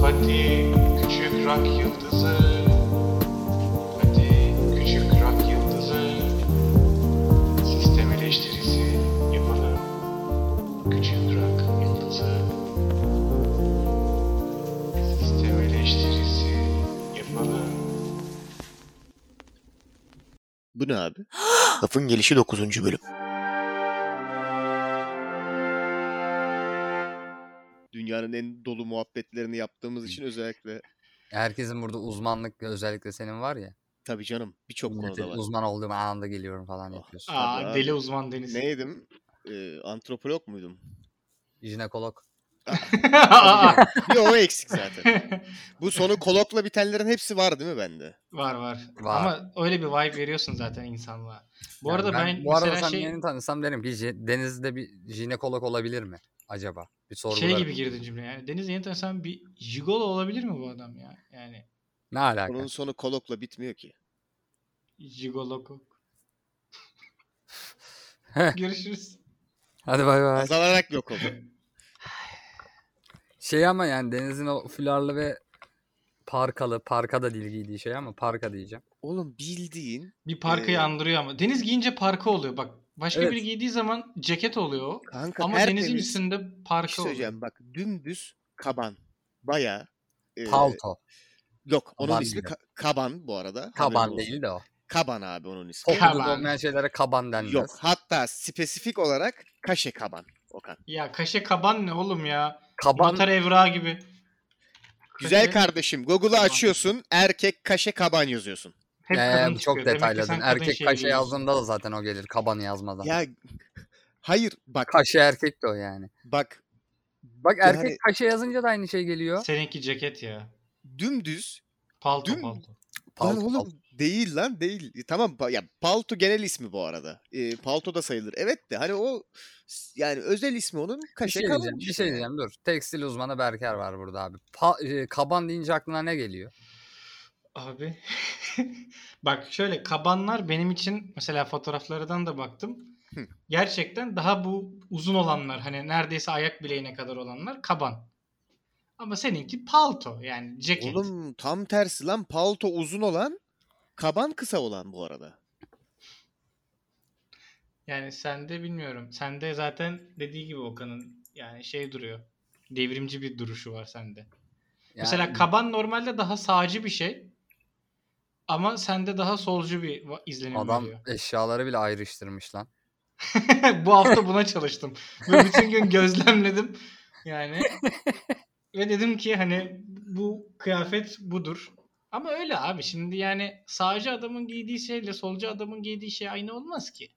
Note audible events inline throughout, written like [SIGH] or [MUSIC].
Hadi küçük rak yıldızı Hadi küçük rak yıldızı Sistem eleştirisi yapalım Küçük rak yıldızı Sistem eleştirisi yapalım Bu ne [GASPS] abi? Lafın gelişi 9. bölüm. Dünyanın en dolu muhabbetlerini yaptığımız için özellikle Herkesin burada uzmanlık özellikle senin var ya. tabii canım birçok millete konuda var. Uzman olduğum anında geliyorum falan yapıyorsun. Ah. Tabii Aa abi. deli uzman Deniz Neydim? Ee, antropolog muydum? Jinekolog. [LAUGHS] Aa, Bir o eksik [LAUGHS] zaten. Bu sonu kolokla bitenlerin hepsi var değil mi bende? Var var Var. Ama öyle bir vibe veriyorsun zaten insanlığa Bu Yani arada ben, bu arada mesela sen şey yeni tanısam derim ki "Ji- Deniz'de bir jinekolog olabilir mi acaba? Bir sorgularım. şey gibi girdin cümleye. Yani Deniz yeni tanısam bir jigolo olabilir mi bu adam ya? Yani Ne alaka? Bunun sonu kolokla bitmiyor ki. jigolo kok. Görüşürüz. Hadi bay bay. Azalarak yok oldu. Şey ama yani Deniz'in o fularlı ve parkalı, parka da değil giydiği şey ama parka diyeceğim. Oğlum bildiğin Bir parkayı Ee, andırıyor ama. Deniz giyince parka oluyor. Bak başka Evet. biri giydiği zaman ceket oluyor o. kanka Ama tertemiz. Deniz'in üstünde Bir parka şey oluyor. söyleyeceğim bak dümdüz kaban. Bayağı e, Palto. Yok onun Kaban ismi gibi. Ka- Kaban bu arada. Haberin Kaban olsun. değil de o. Kaban abi onun ismi. Kaban. Kokuda olmayan şeylere kaban denmez. Yok hatta spesifik olarak Kaşe Kaban. Okan. Ya kaşe kaban ne oğlum ya? Kaban Noter evrağı gibi. Güzel Kaşe- kardeşim Google'ı Kaban. açıyorsun erkek Kaşe Kaban yazıyorsun. Hep Ee, kadın bu çok çıkıyor. Demek ki detayladın. sen kadın şey Erkek şeyi kaşe giyiyorsun. yazdığında da zaten o gelir kaban yazmadan. Ya hayır bak Kaşe erkek de o yani. bak Bak Yani- erkek kaşe yazınca da aynı şey geliyor. Seninki ceket ya. dümdüz. Palto Dün- palto. Palto, lan palto. oğlum değil lan değil. E, tamam pa- ya palto genel ismi bu arada. E, palto da sayılır. Evet de hani o s- yani özel ismi onun Bir Kaşe şey, Kaban. diyeceğim, bir işte şey yani. diyeceğim dur. Tekstil uzmanı Berker var burada abi. Pa- e, kaban deyince aklına ne geliyor? Abi. [LAUGHS] Bak şöyle kabanlar benim için mesela fotoğraflardan da baktım. Hı. Gerçekten daha bu uzun olanlar hani neredeyse ayak bileğine kadar olanlar kaban. Ama seninki palto yani ceket. Oğlum tam tersi lan palto uzun olan kaban kısa olan bu arada. Yani sende bilmiyorum. Sende zaten dediği gibi Okan'ın yani şey duruyor. Devrimci bir duruşu var sende. Mesela Yani kaban normalde daha sağcı bir şey. Ama sende daha solcu bir va- izlenim adam veriyor. eşyaları bile ayrıştırmış lan. [LAUGHS] bu hafta buna çalıştım. Ve bütün gün gözlemledim. Yani ve dedim ki hani bu kıyafet budur. Ama öyle abi şimdi yani sağcı adamın giydiği şeyle solcu adamın giydiği şey aynı olmaz ki.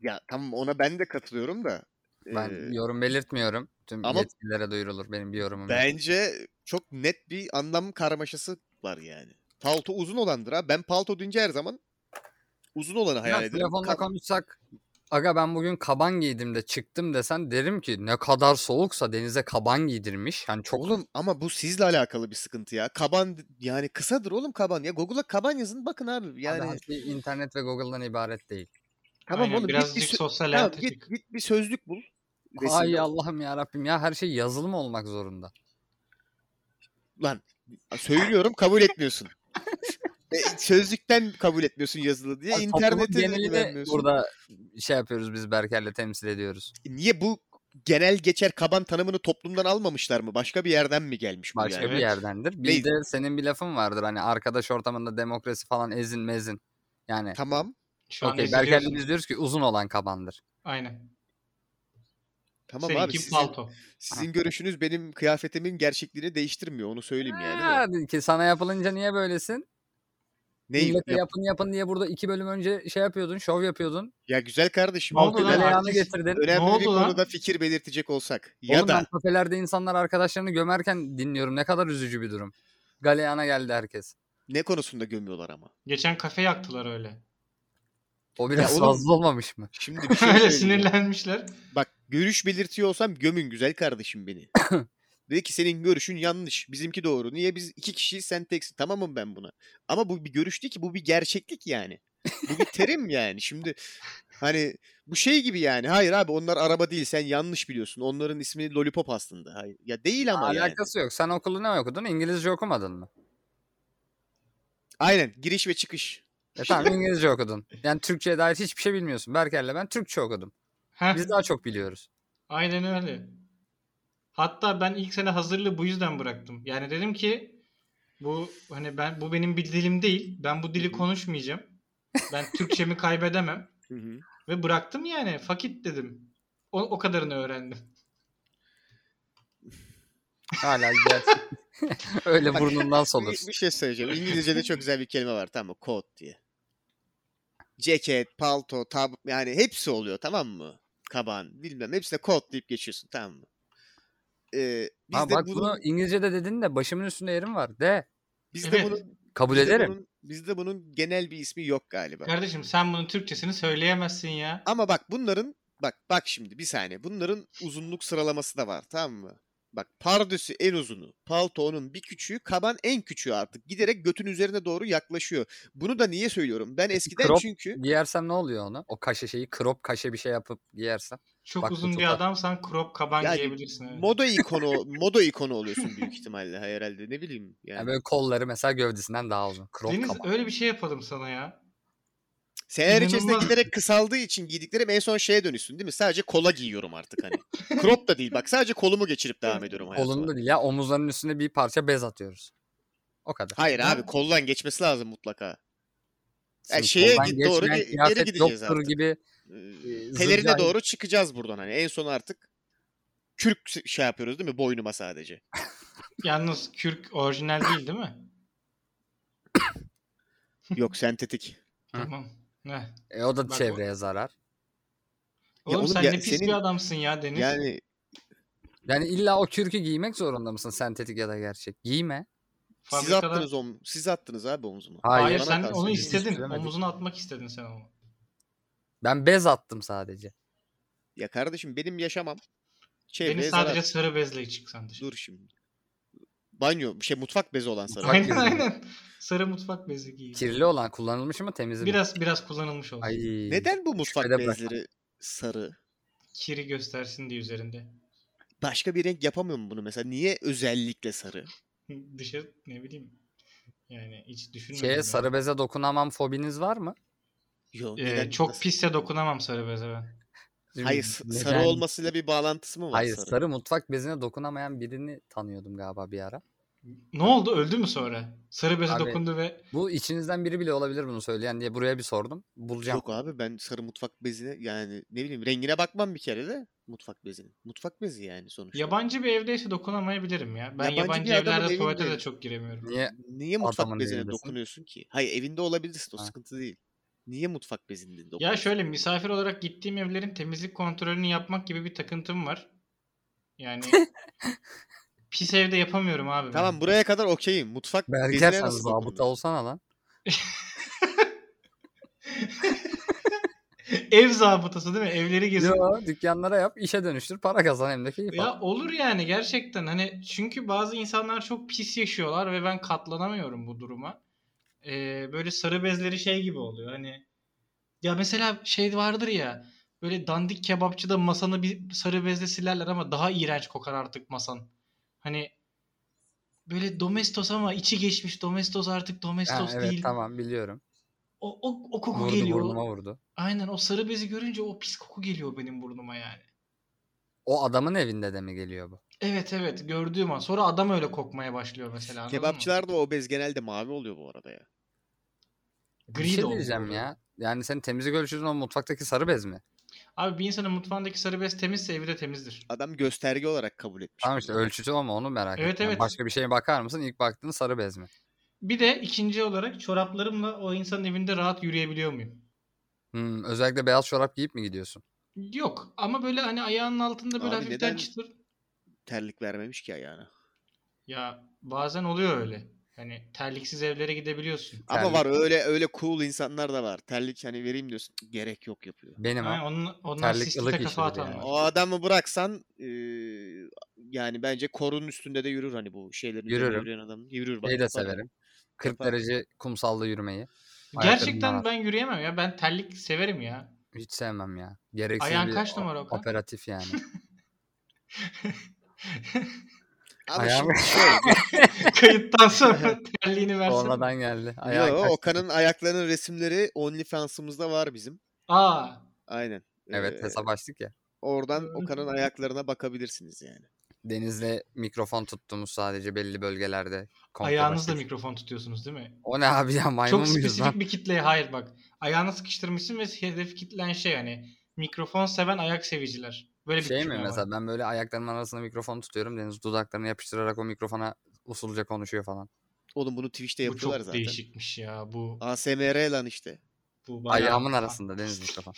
Ya tamam ona ben de katılıyorum da. Ben e, yorum belirtmiyorum. Tüm ama- yetkililere duyurulur benim bir yorumum. yok. Bence çok net bir anlam karmaşası var yani. Palto uzun olandır ha. Ben palto deyince her zaman uzun olanı Ya hayal ederim. telefonda Ka- konuşsak aga ben bugün kaban giydim de çıktım desen derim ki ne kadar soğuksa denize kaban giydirmiş. Yani çok Oğlum ama bu sizle alakalı bir sıkıntı ya. Kaban yani kısadır oğlum kaban. Ya Google'a kaban yazın bakın abi. yani Yani şey internet ve Google'dan ibaret değil. tamam Aynen, oğlum git bir, birazcık sö- sosyal tamam, hayata çık. git, git bir sözlük bul. Resimde Ay Allah'ım ya Rabbim ya her şey yazılı mı olmak zorunda? Lan söylüyorum kabul etmiyorsun. E, Sözlükten kabul etmiyorsun yazılı diye. Ay, toplumun İnternete de genelini güvenmiyorsun. burada şey yapıyoruz biz Berker'le temsil ediyoruz. Niye bu genel geçer kaban tanımını toplumdan almamışlar mı? Başka bir yerden mi gelmiş bu Başka yani? bir Evet. yerdendir. Bir Neydi? de senin bir lafın vardır hani arkadaş ortamında demokrasi falan ezin mezin. Yani Tamam. Şu an okey eziliyorsun. Berker'le biz diyoruz ki uzun olan kabandır. Aynen. Tamam Seninki abi. Sizin, palto. sizin görüşünüz benim kıyafetimin gerçekliğini değiştirmiyor. Onu söyleyeyim yani. Ha, ki sana yapılınca niye böylesin? Neyi? Millete yap- yapın yapın diye burada iki bölüm önce şey yapıyordun, şov yapıyordun. Ya güzel kardeşim. Ne oldu önemli- lan? Böyle ayağını haklısın. getirdin. Ne Önemli bir oldu lan? konuda fikir belirtecek olsak. Ya Oğlum da ben kafelerde insanlar arkadaşlarını gömerken dinliyorum. Ne kadar üzücü bir durum. Galeyana geldi herkes. ne konusunda gömüyorlar ama? Geçen kafe yaktılar öyle. O biraz oğlum- fazla olmamış mı? Şimdi [LAUGHS] bir şey öyle söyleyeyim. sinirlenmişler. Bak görüş belirtiyor olsam gömün güzel kardeşim beni. Dedi ki senin görüşün yanlış. Bizimki doğru. Niye biz iki kişiyiz sen teksin. Tamamım ben buna. Ama bu bir görüş değil ki. Bu bir gerçeklik yani. Bu bir terim yani. Şimdi hani bu şey gibi yani. Hayır abi onlar araba değil. Sen yanlış biliyorsun. Onların ismi Lollipop aslında. Hayır. Ya değil ama yani. Alakası yok. Sen okulu ne okudun? İngilizce okumadın mı? Aynen. Giriş ve çıkış. E [LAUGHS] tamam İngilizce okudun. Yani Türkçe'ye dair hiçbir şey bilmiyorsun. Berker'le ben Türkçe okudum. Heh, Biz daha çok biliyoruz. Aynen öyle. Hatta ben ilk sene hazırlığı bu yüzden bıraktım. Yani dedim ki bu hani ben bu benim bir dilim değil. Ben bu dili konuşmayacağım. Ben Türkçemi kaybedemem. Hı hı. Ve bıraktım yani. Fakit dedim. O, o kadarını öğrendim. Hala gerçek. [LAUGHS] Öyle Bak, burnundan Bir, solursun. bir şey söyleyeceğim. İngilizce'de çok güzel bir kelime var tamam mı? Coat diye. Ceket, palto, tab yani hepsi oluyor tamam mı? Kaban bilmem hepsine coat deyip geçiyorsun tamam mı? Ee, biz Ha de bak bunun, bunu İngilizce'de dedin de başımın üstünde yerim var. De. biz de [LAUGHS] Evet. bunun Kabul biz de ederim. bunun- bizde bunun genel bir ismi yok galiba. Kardeşim sen bunun Türkçesini söyleyemezsin ya. Ama bak bunların bak bak şimdi bir saniye. Bunların uzunluk sıralaması da var tamam mı? Bak pardösü en uzunu, palto onun bir küçüğü, kaban en küçüğü artık. Giderek götün üzerine doğru yaklaşıyor. Bunu da niye söylüyorum? Ben eskiden Crop çünkü Giyersem ne oluyor ona? O kaşe şeyi krop kaşe bir şey yapıp giyersem. Çok Bak bu uzun çok bir haklı. adamsan crop kaban Ya, giyebilirsin. evet. moda ikonu moda ikonu oluyorsun büyük ihtimalle herhalde ne bileyim yani. Yani böyle kolları mesela gövdesinden daha uzun. Krop Deniz kaban. öyle bir şey yapalım sana ya. Seneler içerisinde İnanılmaz. giderek kısaldığı için giydiklerim en son şeye dönüşsün değil mi? Sadece kola giyiyorum artık hani. Crop da değil bak sadece kolumu geçirip devam ediyorum hayatıma. Kolunda değil ya omuzlarının üstüne bir parça bez atıyoruz. O kadar. Hayır Ha. abi koldan geçmesi lazım mutlaka. Şimdi şeye koldan git- doğru geçmeyen ge- ileri kıyafet gideceğiz yoktur artık. gibi e, Ee, zıplay- Pelerine doğru çıkacağız buradan hani en son artık kürk s- şey yapıyoruz değil mi boynuma sadece. Yalnız kürk orijinal değil değil mi? [LAUGHS] Yok sentetik. Hı. tamam. Heh. E, o da Bak o- çevreye zarar. Oğlum, oğlum sen ya ne pis senin- bir adamsın ya Deniz. Yani Yani illa o kürkü giymek zorunda mısın sentetik ya da gerçek? Giyme. siz Fabrikalar- attınız om siz attınız abi omzuma. Hayır, Bana sen kalsın, onu biz istedin. istemedik. Omuzuna atmak istedin sen onu. Ben bez attım sadece. Ya kardeşim benim yaşamam. Çevreye Deniz zarar. sadece sarı bezle çıksan dışarı. Dur şimdi. Banyo, bir şey mutfak bezi olan sarı. Mutfak Aynen bezi. aynen. Sarı mutfak bezi giy. Kirli olan kullanılmış mı temiz mi? Biraz biraz kullanılmış olsun. Ay. Neden bu mutfak Şüphede bırakma. bezleri sarı? Kiri göstersin diye üzerinde. [LAUGHS] Başka bir renk yapamıyor mu bunu mesela? Niye özellikle sarı? Dışarı ne bileyim. Yani hiç düşünmedim. ben. Şeye, sarı beze dokunamam fobiniz var mı? Yo, Ee, neden? çok Nasıl? pisse dokunamam sarı beze ben. Hayır, s- sarı Neden? olmasıyla bir bağlantısı mı var Hayır sarı? sarı. mutfak bezine dokunamayan birini tanıyordum galiba bir ara. Ne oldu? Öldü mü sonra? Sarı beze Abi- dokundu ve Bu içinizden biri bile olabilir bunu söyleyen diye buraya bir sordum. Bulacağım. Yok abi ben sarı mutfak bezine yani ne bileyim rengine bakmam bir kere de mutfak bezinin. Mutfak bezi yani sonuçta. yabancı bir evdeyse dokunamayabilirim ya. Ben Yabancı yabancı, bir adamın evlerde evinde- tuvalete de çok giremiyorum. Niye? Niye mutfak Adamın bezine evindesin. dokunuyorsun ki? Hayır evinde olabilirsin o Ha. sıkıntı değil. Niye mutfak bezinde dokunuyorsun? Ya şöyle misafir olarak gittiğim evlerin temizlik kontrolünü yapmak gibi bir takıntım var. Yani pis evde yapamıyorum abi. ben. Tamam buraya kadar okeyim. Mutfak Berker bezine sen nasıl zabıta dokunulur? olsana lan. [LAUGHS] Ev zabıtası değil mi? Evleri gezin. Yo, dükkanlara yap işe dönüştür para kazan hem de keyif al. Ya olur yani gerçekten hani çünkü bazı insanlar çok pis yaşıyorlar ve ben katlanamıyorum bu duruma. Ee, böyle sarı bezleri şey gibi oluyor hani ya mesela şey vardır ya böyle dandik kebapçıda masanı bir sarı bezle silerler ama daha iğrenç kokar artık masan. Hani böyle domestos ama içi geçmiş domestos artık Ha, domestos evet değil. tamam biliyorum. O, o, o koku Vurdu geliyor. burnuma vurdu. Aynen o sarı bezi görünce o pis koku geliyor benim burnuma yani. O adamın evinde de mi geliyor bu? Evet evet gördüğüm an. Sonra adam öyle kokmaya başlıyor mesela. anladın mı? Kebapçılar da obez genelde mavi oluyor bu arada ya. bir de şey oluyor diyeceğim orada. ya. Yani senin temizlik ölçüsün o mutfaktaki sarı bez mi? Abi bir insanın mutfağındaki sarı bez temizse evi de temizdir. Adam gösterge olarak kabul etmiş. Tamam işte bunu. ölçüsü o mu onu merak Evet, ettim. evet. Başka bir şeye bakar mısın? İlk baktığın sarı bez mi? Bir de ikinci olarak çoraplarımla o insanın evinde rahat yürüyebiliyor muyum? Hmm, özellikle beyaz çorap giyip mi gidiyorsun? Yok ama böyle hani ayağının altında böyle Abi hafiften neden- çıtır. Terlik vermemiş ki ayağına. Ya bazen oluyor öyle. Hani terliksiz evlere gidebiliyorsun. Ama Terlik. var öyle öyle cool insanlar da var. Terlik hani vereyim diyorsun. "Cık, Gerek yok yapıyor. Benim Ha, ha. onun, onlar Terlik sisli ılık de kafa işidir yani. atanlar. O adamı bıraksan eee, yani bence korunun üstünde de yürür hani bu şeylerin üzerinde Yürürüm. yürüyen adam. Yürür bak. Şeyi de yapar yani. severim. 40 Yapar. derece kumsalda yürümeyi. Ayaklarım Gerçekten ağır. ben yürüyemem ya. Ben terlik severim ya. [LAUGHS] Hiç sevmem ya. Gereksiz Ayağın bir kaç o- numara Okan? operatif [LAUGHS] yani. Ama Ayağım- [LAUGHS] şimdi şöyle. Kayıttan sonra terliğini versin. Sonradan geldi. Ayağın Yo, e, kaç Okan'ın ayaklarının resimleri OnlyFans'ımızda var bizim. Aa, Aynen. Evet Eee, hesap açtık ya. Oradan Okan'ın ayaklarına bakabilirsiniz yani. Denizle mikrofon tuttuğumuz sadece belli bölgelerde. kontrol ayağınızla ettik. mikrofon tutuyorsunuz değil mi? O ne abi ya maymun Çok muyuz lan? spesifik bir kitleye hayır bak. Ayağını sıkıştırmışsın ve hedef kitlen şey hani mikrofon seven ayak seviciler. Böyle bir Şey mi kitle var. mesela ben böyle ayaklarımın arasında mikrofon tutuyorum. Deniz dudaklarını yapıştırarak o mikrofona usulca konuşuyor falan. Oğlum bunu Twitch'te Bu çok yapıyorlar zaten. değişikmiş ya. Bu, ASMR lan işte. bu Ayağımın arasında Deniz Mustafa.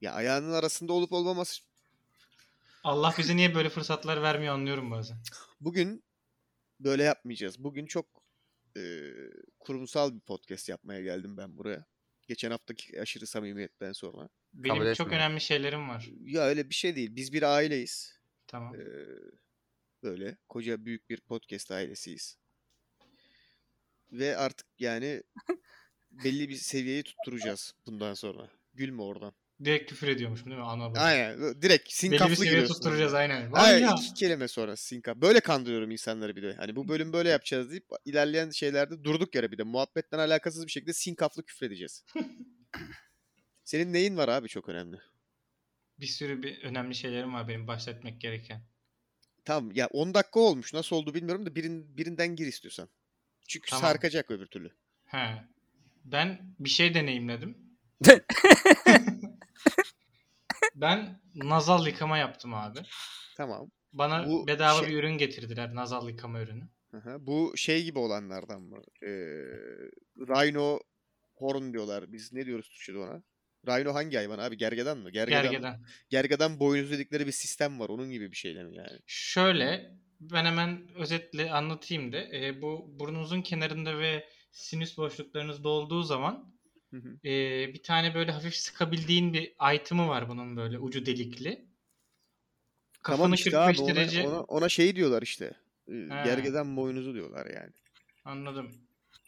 Ya ayağının arasında olup olmaması. Allah bize niye böyle fırsatlar vermiyor anlıyorum bazen. Bugün böyle yapmayacağız. Bugün çok eee, kurumsal bir podcast yapmaya geldim ben buraya. Geçen haftaki aşırı samimiyetten sonra. Benim Kabul çok etmiyorum. önemli şeylerim var. Ya öyle bir şey değil. Biz bir aileyiz. Tamam. Eee, böyle koca büyük bir podcast ailesiyiz. Ve artık [LAUGHS] yani belli bir seviyeyi tutturacağız bundan sonra. Gülme oradan. Direkt küfür ediyormuşum değil mi? Ana baba. Aynen. Direkt Belli bir sinkaflı seviye giriyorsun. tutturacağız aynen. Var Hayır ya. iki kelime sonra sinkaf. Böyle kandırıyorum insanları bir de. Hani bu bölüm böyle yapacağız deyip ilerleyen şeylerde durduk yere bir de muhabbetten alakasız bir şekilde sinkaflı [LAUGHS] küfredeceğiz. Senin neyin var abi çok önemli. Bir sürü bir önemli şeylerim var benim bahsetmek gereken. Tamam ya 10 dakika olmuş nasıl oldu bilmiyorum da birin, birinden gir istiyorsan. Çünkü Tamam. sarkacak öbür türlü. He. Ben bir [LAUGHS] şey deneyimledim. ben nazal yıkama yaptım abi. Tamam. Bana Bu bedava şey- bir ürün getirdiler. Nazal yıkama ürünü. Aha, bu şey gibi olanlardan mı? Ee, Rhino horn diyorlar. Biz ne diyoruz Türkçe'de ona? Rhino hangi hayvan abi? Gergedan mı? Gergedan. mı? Gergedan. Gergedan boynuzu dedikleri bir sistem var. Onun gibi bir şeyler mi yani? Şöyle ben hemen özetle anlatayım da e, bu burnunuzun kenarında ve sinüs boşluklarınız dolduğu zaman Hı hı. e, bir tane böyle hafif sıkabildiğin bir item'ı var bunun böyle ucu delikli. Kafanı Tamam işte 45 abi ona, derece ona, ona şey diyorlar işte. Ee, Ha. Gergedan boynuzu diyorlar yani. anladım.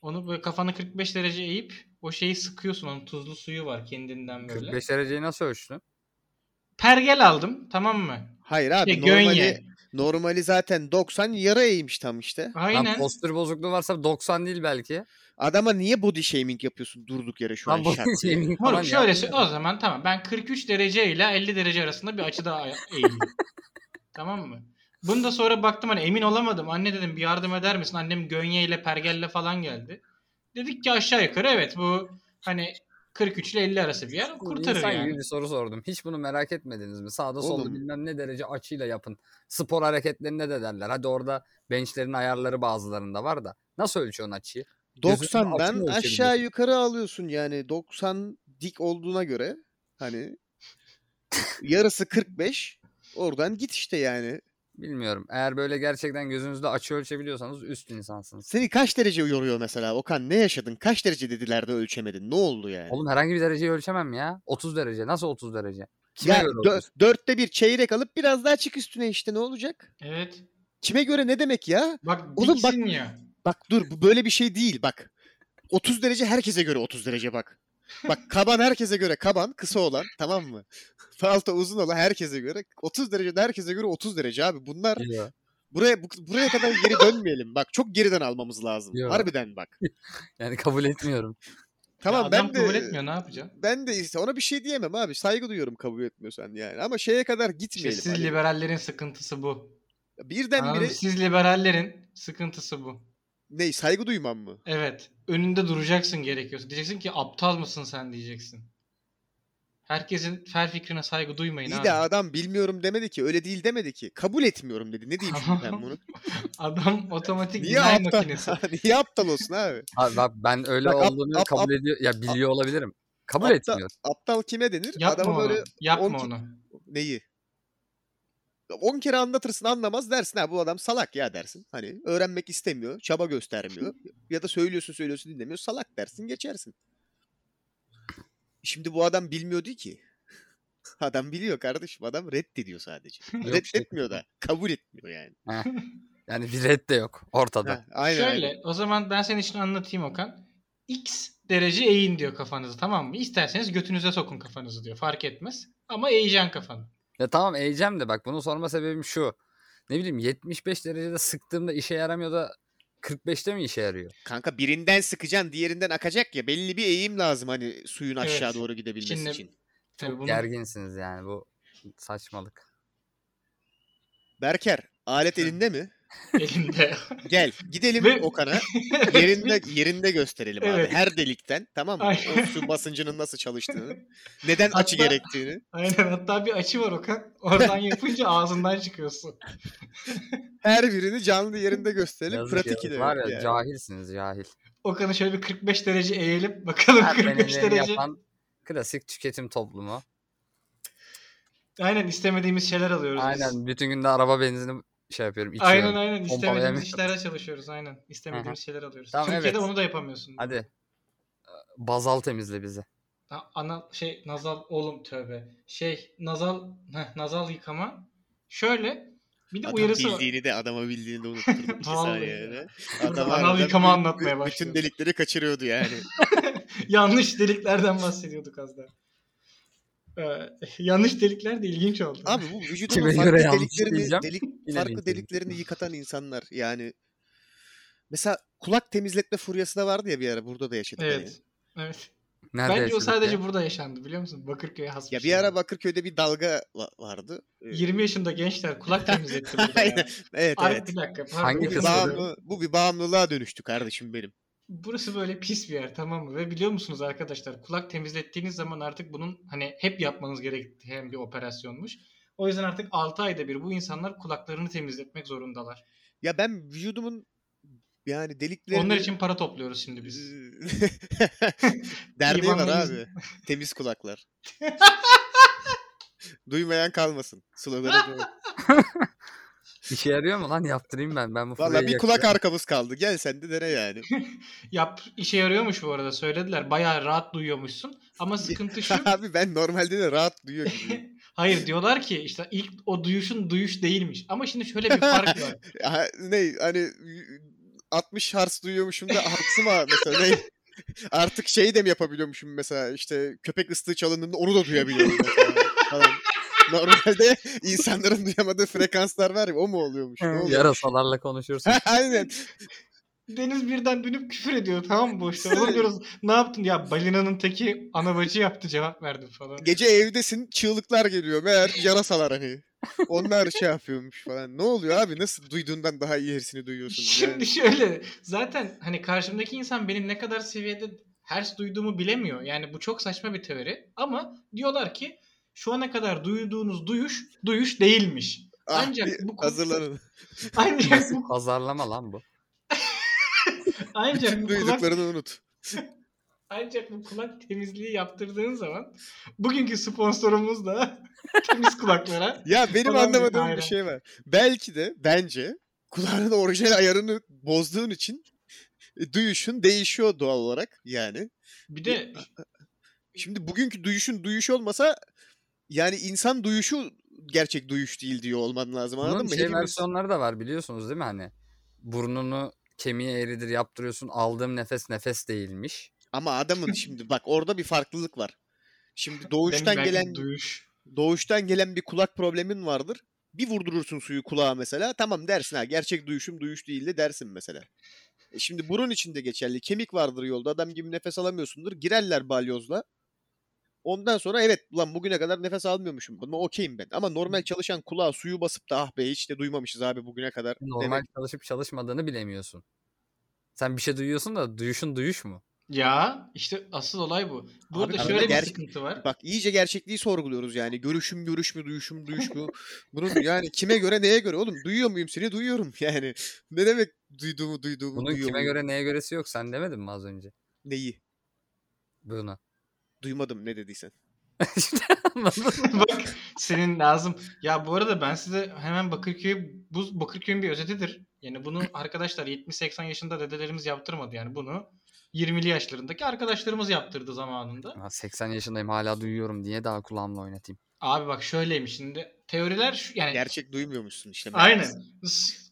Onu böyle kafanı 45 derece eğip o şeyi sıkıyorsun. Onun tuzlu suyu var kendinden böyle. 45 dereceyi nasıl ölçtün? Pergel aldım tamam mı? Hayır abi Şey, normali gönye. normali zaten 90 yara eğmiş tam işte. Aynen. Aynen. postür bozukluğu varsa 90 değil belki. Adama niye body shaming yapıyorsun durduk yere şu an Lan bu [LAUGHS] şart diye? şeyin Moruk, falan şöyle ya. sö- o zaman tamam ben 43 derece ile 50 derece arasında bir açıda ay- [LAUGHS] eğildim. tamam mı? Bunu da sonra baktım hani emin olamadım. Anne dedim bir yardım eder misin? Annem gönye ile pergelle falan geldi. Dedik ki aşağı yukarı evet bu hani 43 ile 50 arası bir yer kurtarır İnsan yani. gibi bir soru sordum. Hiç bunu merak etmediniz mi? Sağda solda Oğlum. bilmem ne derece açıyla yapın. Spor hareketlerine de derler. Hadi orada benchlerin ayarları bazılarında var da. Nasıl ölçüyorsun açıyı? 90'dan altını aşağı ölçebiliyorsun. yukarı alıyorsun yani 90 dik olduğuna göre hani yarısı 45 oradan git işte yani. Bilmiyorum. Eğer böyle gerçekten gözünüzde açı ölçebiliyorsanız üst insansınız. Seni kaç derece yoruyor mesela Okan ne yaşadın kaç derece dediler de ölçemedin ne oldu yani? Oğlum herhangi bir dereceyi ölçemem ya. 30 derece. Nasıl 30 derece? Kime Yani göre dö- 30? dörtte bir çeyrek alıp biraz daha çık üstüne işte ne olacak? Evet. Kime göre ne demek ya? Bak Oğlum bak- diksin ya. Bak dur bu böyle bir şey değil bak. 30 derece herkese göre 30 derece bak. Bak kaban herkese göre kaban kısa olan tamam mı? Falta uzun olan herkese göre 30 derece de herkese göre 30 derece abi. Bunlar Yo. buraya bu- buraya kadar geri dönmeyelim. Bak çok geriden almamız lazım. Yo. Harbiden bak. [LAUGHS] Yani kabul etmiyorum. Tamam adam ben de kabul etmiyor ne yapacaksın? ben de ise ona bir şey diyemem abi. Saygı duyuyorum kabul etmiyorsan yani. Ama şeye kadar İşte gitmeyelim. siz hani. liberallerin sıkıntısı bu. Anladın Birdenbire mı? Siz liberallerin sıkıntısı bu. ne saygı duymam mı? Evet. Önünde duracaksın gerekiyorsa. Diyeceksin ki aptal mısın sen diyeceksin. Herkesin fer fikrine saygı duymayın İyi abi. de adam bilmiyorum demedi ki. Öyle değil demedi ki. Kabul etmiyorum dedi. Ne diyeyim şimdi ben [LAUGHS] bunu? Adam otomatik Niye dinay aptal? makinesi. [LAUGHS] Niye aptal olsun abi? Abi bak ben öyle Bak, ap- olduğunu ap- kabul ap- ediyor ya biliyor olabilirim. Kabul Aptal- etmiyor. Aptal kime denir? Yapma Adama onu. böyle Yapma 10 onu. neyi? 10 kere anlatırsın anlamaz dersin ha bu adam salak ya dersin. Hani öğrenmek istemiyor, çaba göstermiyor ya da söylüyorsun söylüyorsun dinlemiyor salak dersin geçersin. Şimdi bu adam bilmiyordu ki. [LAUGHS] Adam biliyor kardeşim adam reddediyor [LAUGHS] sadece. Yok, şey, Reddetmiyor da kabul etmiyor yani. Yani bir red de yok ortada. Ha, aynen Şöyle aynen. o zaman ben senin için anlatayım Okan. X derece eğin diyor kafanızı tamam mı? İsterseniz götünüze sokun kafanızı diyor. Fark etmez. Ama eğeceksin kafanı. Ya tamam eğeceğim de bak bunu sorma sebebim şu. Ne bileyim 75 derecede sıktığımda işe yaramıyor da 45'te mi işe yarıyor? Kanka birinden sıkacaksın diğerinden akacak ya belli bir eğim lazım hani suyun aşağı Evet. doğru gidebilmesi Şimdi- için. Tabii bunu Gerginsiniz yani bu saçmalık. Berker alet elinde mi? elinde. Gel gidelim Ve- [LAUGHS] Okan'a. yerinde yerinde gösterelim Evet. abi. Her delikten tamam mı? Aynen. O su basıncının nasıl çalıştığını, neden açı Hatta- gerektiğini. Aynen hatta bir açı var Okan. [LAUGHS] Oradan yapınca ağzından çıkıyorsun. Her birini canlı yerinde gösterelim. Yazık Pratik ya. ile. Var ya yani. cahilsiniz cahil. Okan'ı şöyle bir 45 derece eğelim. Bakalım 45 Ermenileri derece. yapan klasik tüketim toplumu. Aynen istemediğimiz şeyler alıyoruz biz. Aynen bütün gün de araba benzini şey yapıyorum içiyorum. Aynen aynen istemediğimiz Pompalayamıyorum. işlere çalışıyoruz aynen. İstemediğimiz şeyler alıyoruz. Tamam, Türkiye'de evet. onu da yapamıyorsun. Hadi. Ee, Bazal temizle bizi. Na- Ana şey nazal oğlum tövbe. Şey nazal heh, nazal yıkama. Şöyle bir de Adam uyarısı var. bildiğini de adama bildiğini de [LAUGHS] unutturdum. iki Vallahi saniyede. ya. Adam Anal harbiden yıkama bütün- anlatmaya başlıyor. Bütün delikleri kaçırıyordu yani. [LAUGHS] yanlış deliklerden bahsediyorduk az daha. Ee, [LAUGHS] yanlış delikler de ilginç oldu. Abi bu vücudun Kime farklı göre yanlış deliklerini, diyeceğim, delik, yine farklı linç deliklerini yıkatan insanlar yani. Mesela kulak temizletme furyası da vardı ya bir ara burada da yaşadık. hani. [LAUGHS] evet. Evet. Nerede Bence o yaşadık sadece ya? burada yaşandı biliyor musun? Bakırköy'e has Ya şey. bir ara Bakırköy'de bir dalga va- vardı. Ee, 20 yaşında [LAUGHS] gençler kulak temizletti burada ya. Aynen, Evet Ay, evet. bir dakika. pardon, Hangi Bu bir, özür kısmı? dilerim. bağımlı, bu bir bağımlılığa dönüştü kardeşim benim. Burası böyle pis bir yer tamam mı? Ve biliyor musunuz arkadaşlar kulak temizlettiğiniz zaman artık bunun hani hep yapmanız gereken bir operasyonmuş. O yüzden artık 6 ayda bir bu insanlar kulaklarını temizletmek zorundalar. Ya ben vücudumun yani deliklerini... [LAUGHS] Onlar için para topluyoruz şimdi biz. Derneği var İvan'la abi. yüz- Temiz kulaklar. Duymayan kalmasın. [LAUGHS] Sloganı bu. İşe yarıyor mu lan yaptırayım ben. Ben bu Valla furyayı bir kulak yakacağım. arkamız kaldı. Gel sen de dene yani. Yap işe yarıyormuş bu arada söylediler. Bayağı rahat duyuyormuşsun. [LAUGHS] Ama sıkıntı [LAUGHS] şu. abi ben normalde de rahat duyuyor gibiyim. Hayır diyorlar ki işte ilk o duyuşun duyuş değilmiş. Ama şimdi şöyle bir fark [LAUGHS] var. Ha, ne hani 60 harç duyuyormuşum da harçı mı mesela ne? [LAUGHS] Artık şey de mi yapabiliyormuşum mesela işte köpek ıslığı çalındığında onu da duyabiliyorum mesela hani, falan. Normalde insanların duyamadığı frekanslar var ya o mu oluyormuş? Ne oluyor? Yarasalarla konuşursun. [LAUGHS] Aynen. Deniz birden dönüp küfür ediyor tamam mı boşta? Oğlum diyoruz ne yaptın ya balinanın teki anavacı yaptı cevap verdim falan. Gece evdesin çığlıklar geliyor meğer yarasalar hani. Onlar şey yapıyormuş falan. Ne oluyor abi? Nasıl duyduğundan daha iyi herisini [LAUGHS] duyuyorsun? Şimdi Yani. şöyle zaten hani karşımdaki insan benim ne kadar seviyede hers duyduğumu bilemiyor. Yani bu çok saçma bir teori ama diyorlar ki şu ana kadar duyduğunuz duyuş duyuş değilmiş. Ah, Ancak bir bu- hazırlanın. [LAUGHS] Ancak bu, Pazarlama lan bu. ancak Bütün bu kulak, duyduklarını unut. ancak bu kulak temizliği yaptırdığın zaman bugünkü sponsorumuz da [LAUGHS] temiz kulaklara. Ya benim Falan bir anlamadığım daire. bir şey var. Belki de bence kulağının orijinal ayarını bozduğun için e, duyuşun değişiyor doğal olarak yani. Bir de Şimdi bugünkü duyuşun duyuş olmasa yani insan duyuşu gerçek duyuş değil diyor olman lazım anladın Bunun mı? şey Hepimiz- versiyonları da var biliyorsunuz değil mi hani? Burnunu kemiğe eridir yaptırıyorsun. Aldığım nefes nefes değilmiş. Ama adamın şimdi bak orada bir farklılık var. Şimdi doğuştan belki gelen duyuş. doğuştan gelen bir kulak problemin vardır. Bir vurdurursun suyu kulağa mesela. Tamam dersin ha gerçek duyuşum duyuş değil de dersin mesela. E Şimdi burun içinde geçerli. Kemik vardır yolda. Adam gibi nefes alamıyorsundur. Girerler balyozla. Ondan sonra evet ulan bugüne kadar nefes almıyormuşum. Buna okeyim ben. Ama normal çalışan kulağa suyu basıp da ah be hiç de duymamışız abi bugüne kadar. Normal çalışıp çalışmadığını bilemiyorsun. Sen bir şey duyuyorsun da duyuşun duyuş mu? Ya işte asıl olay bu. Burada arada şöyle bir ger- sıkıntı var. [LAUGHS] Bak iyice gerçekliği sorguluyoruz yani. Görüşüm görüş mü, duyuşum duyuş mu? Bunun yani kime göre neye göre oğlum? Duyuyor muyum seni? Duyuyorum [LAUGHS] yani. Ne demek duyduğumu duyduğumu Bunun duyuyor kime muyum? göre neye göresi yok. Sen demedin mi az önce Neyi? buna? [LAUGHS] Duymadım ne dediysen. İşte anladın mı? Bak senin lazım. Ya bu arada ben size hemen Bakırköy bu Bakırköy'ün bir özetidir. [LAUGHS] Yani bunu arkadaşlar 70-80 yaşında dedelerimiz yaptırmadı yani bunu 20'li yaşlarındaki arkadaşlarımız yaptırdı zamanında. Ulan 80 yaşındayım hala duyuyorum diye daha kulağımla oynatayım. Abi bak şöyleymiş şimdi teoriler şu yani Gerçek duymuyormuşsun işte. aynen.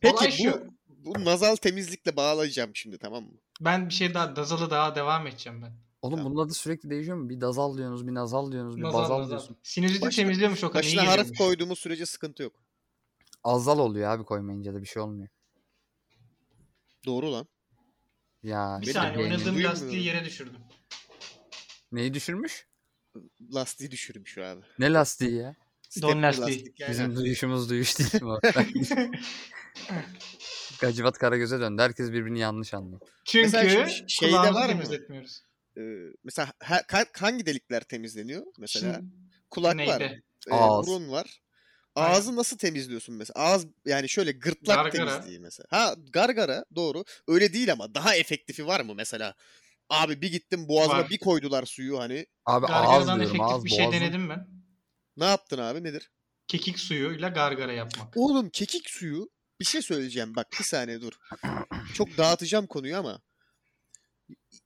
Peki Olay bu, şu. bu nazal temizlikle bağlayacağım şimdi tamam mı? Ben bir şey daha dazalı daha devam edeceğim ben. Oğlum Tamam. bunun adı sürekli değişiyor mu? Bir dazal diyorsunuz, bir nazal diyorsunuz, bir Nazal, bazal nazal. diyorsun. Sinüziti Başla- temizliyormuş o kadar iyi Başına harf geliyormuş. koyduğumuz sürece sıkıntı yok. Azal oluyor abi koymayınca da bir şey olmuyor. Doğru lan. Ya Bir işte saniye beynin- oynadığım Duymuyorum. lastiği yere düşürdüm. Neyi düşürmüş? Lastiği düşürmüş abi. Ne lastiği ya? Stepli lastiği. yani. Bizim duyuşumuz duyuş değil mi? [LAUGHS] Gacivat Karagöz'e döndü. Herkes birbirini yanlış anlıyor. Çünkü Mesela ş- şeyde kulağımızı var mı? temizletmiyoruz. Ee, mesela ha- ka- hangi delikler temizleniyor? Mesela Şimdi kulak var, neydi? e, Ağız. burun var. Aynen. Ağzı nasıl temizliyorsun mesela? Ağız yani şöyle gırtlak Gargara. temizliği mesela. Ha gargara doğru. Öyle değil ama daha efektifi var mı mesela? Abi bir gittim boğazına Var. bir koydular suyu hani. Abi ağız Gargaradan diyorum. efektif Ağız bir şey boğazın- denedim ben. Ne yaptın abi nedir? Kekik suyuyla gargara yapmak. Oğlum kekik suyu bir şey söyleyeceğim bak bir saniye dur. Çok dağıtacağım konuyu ama.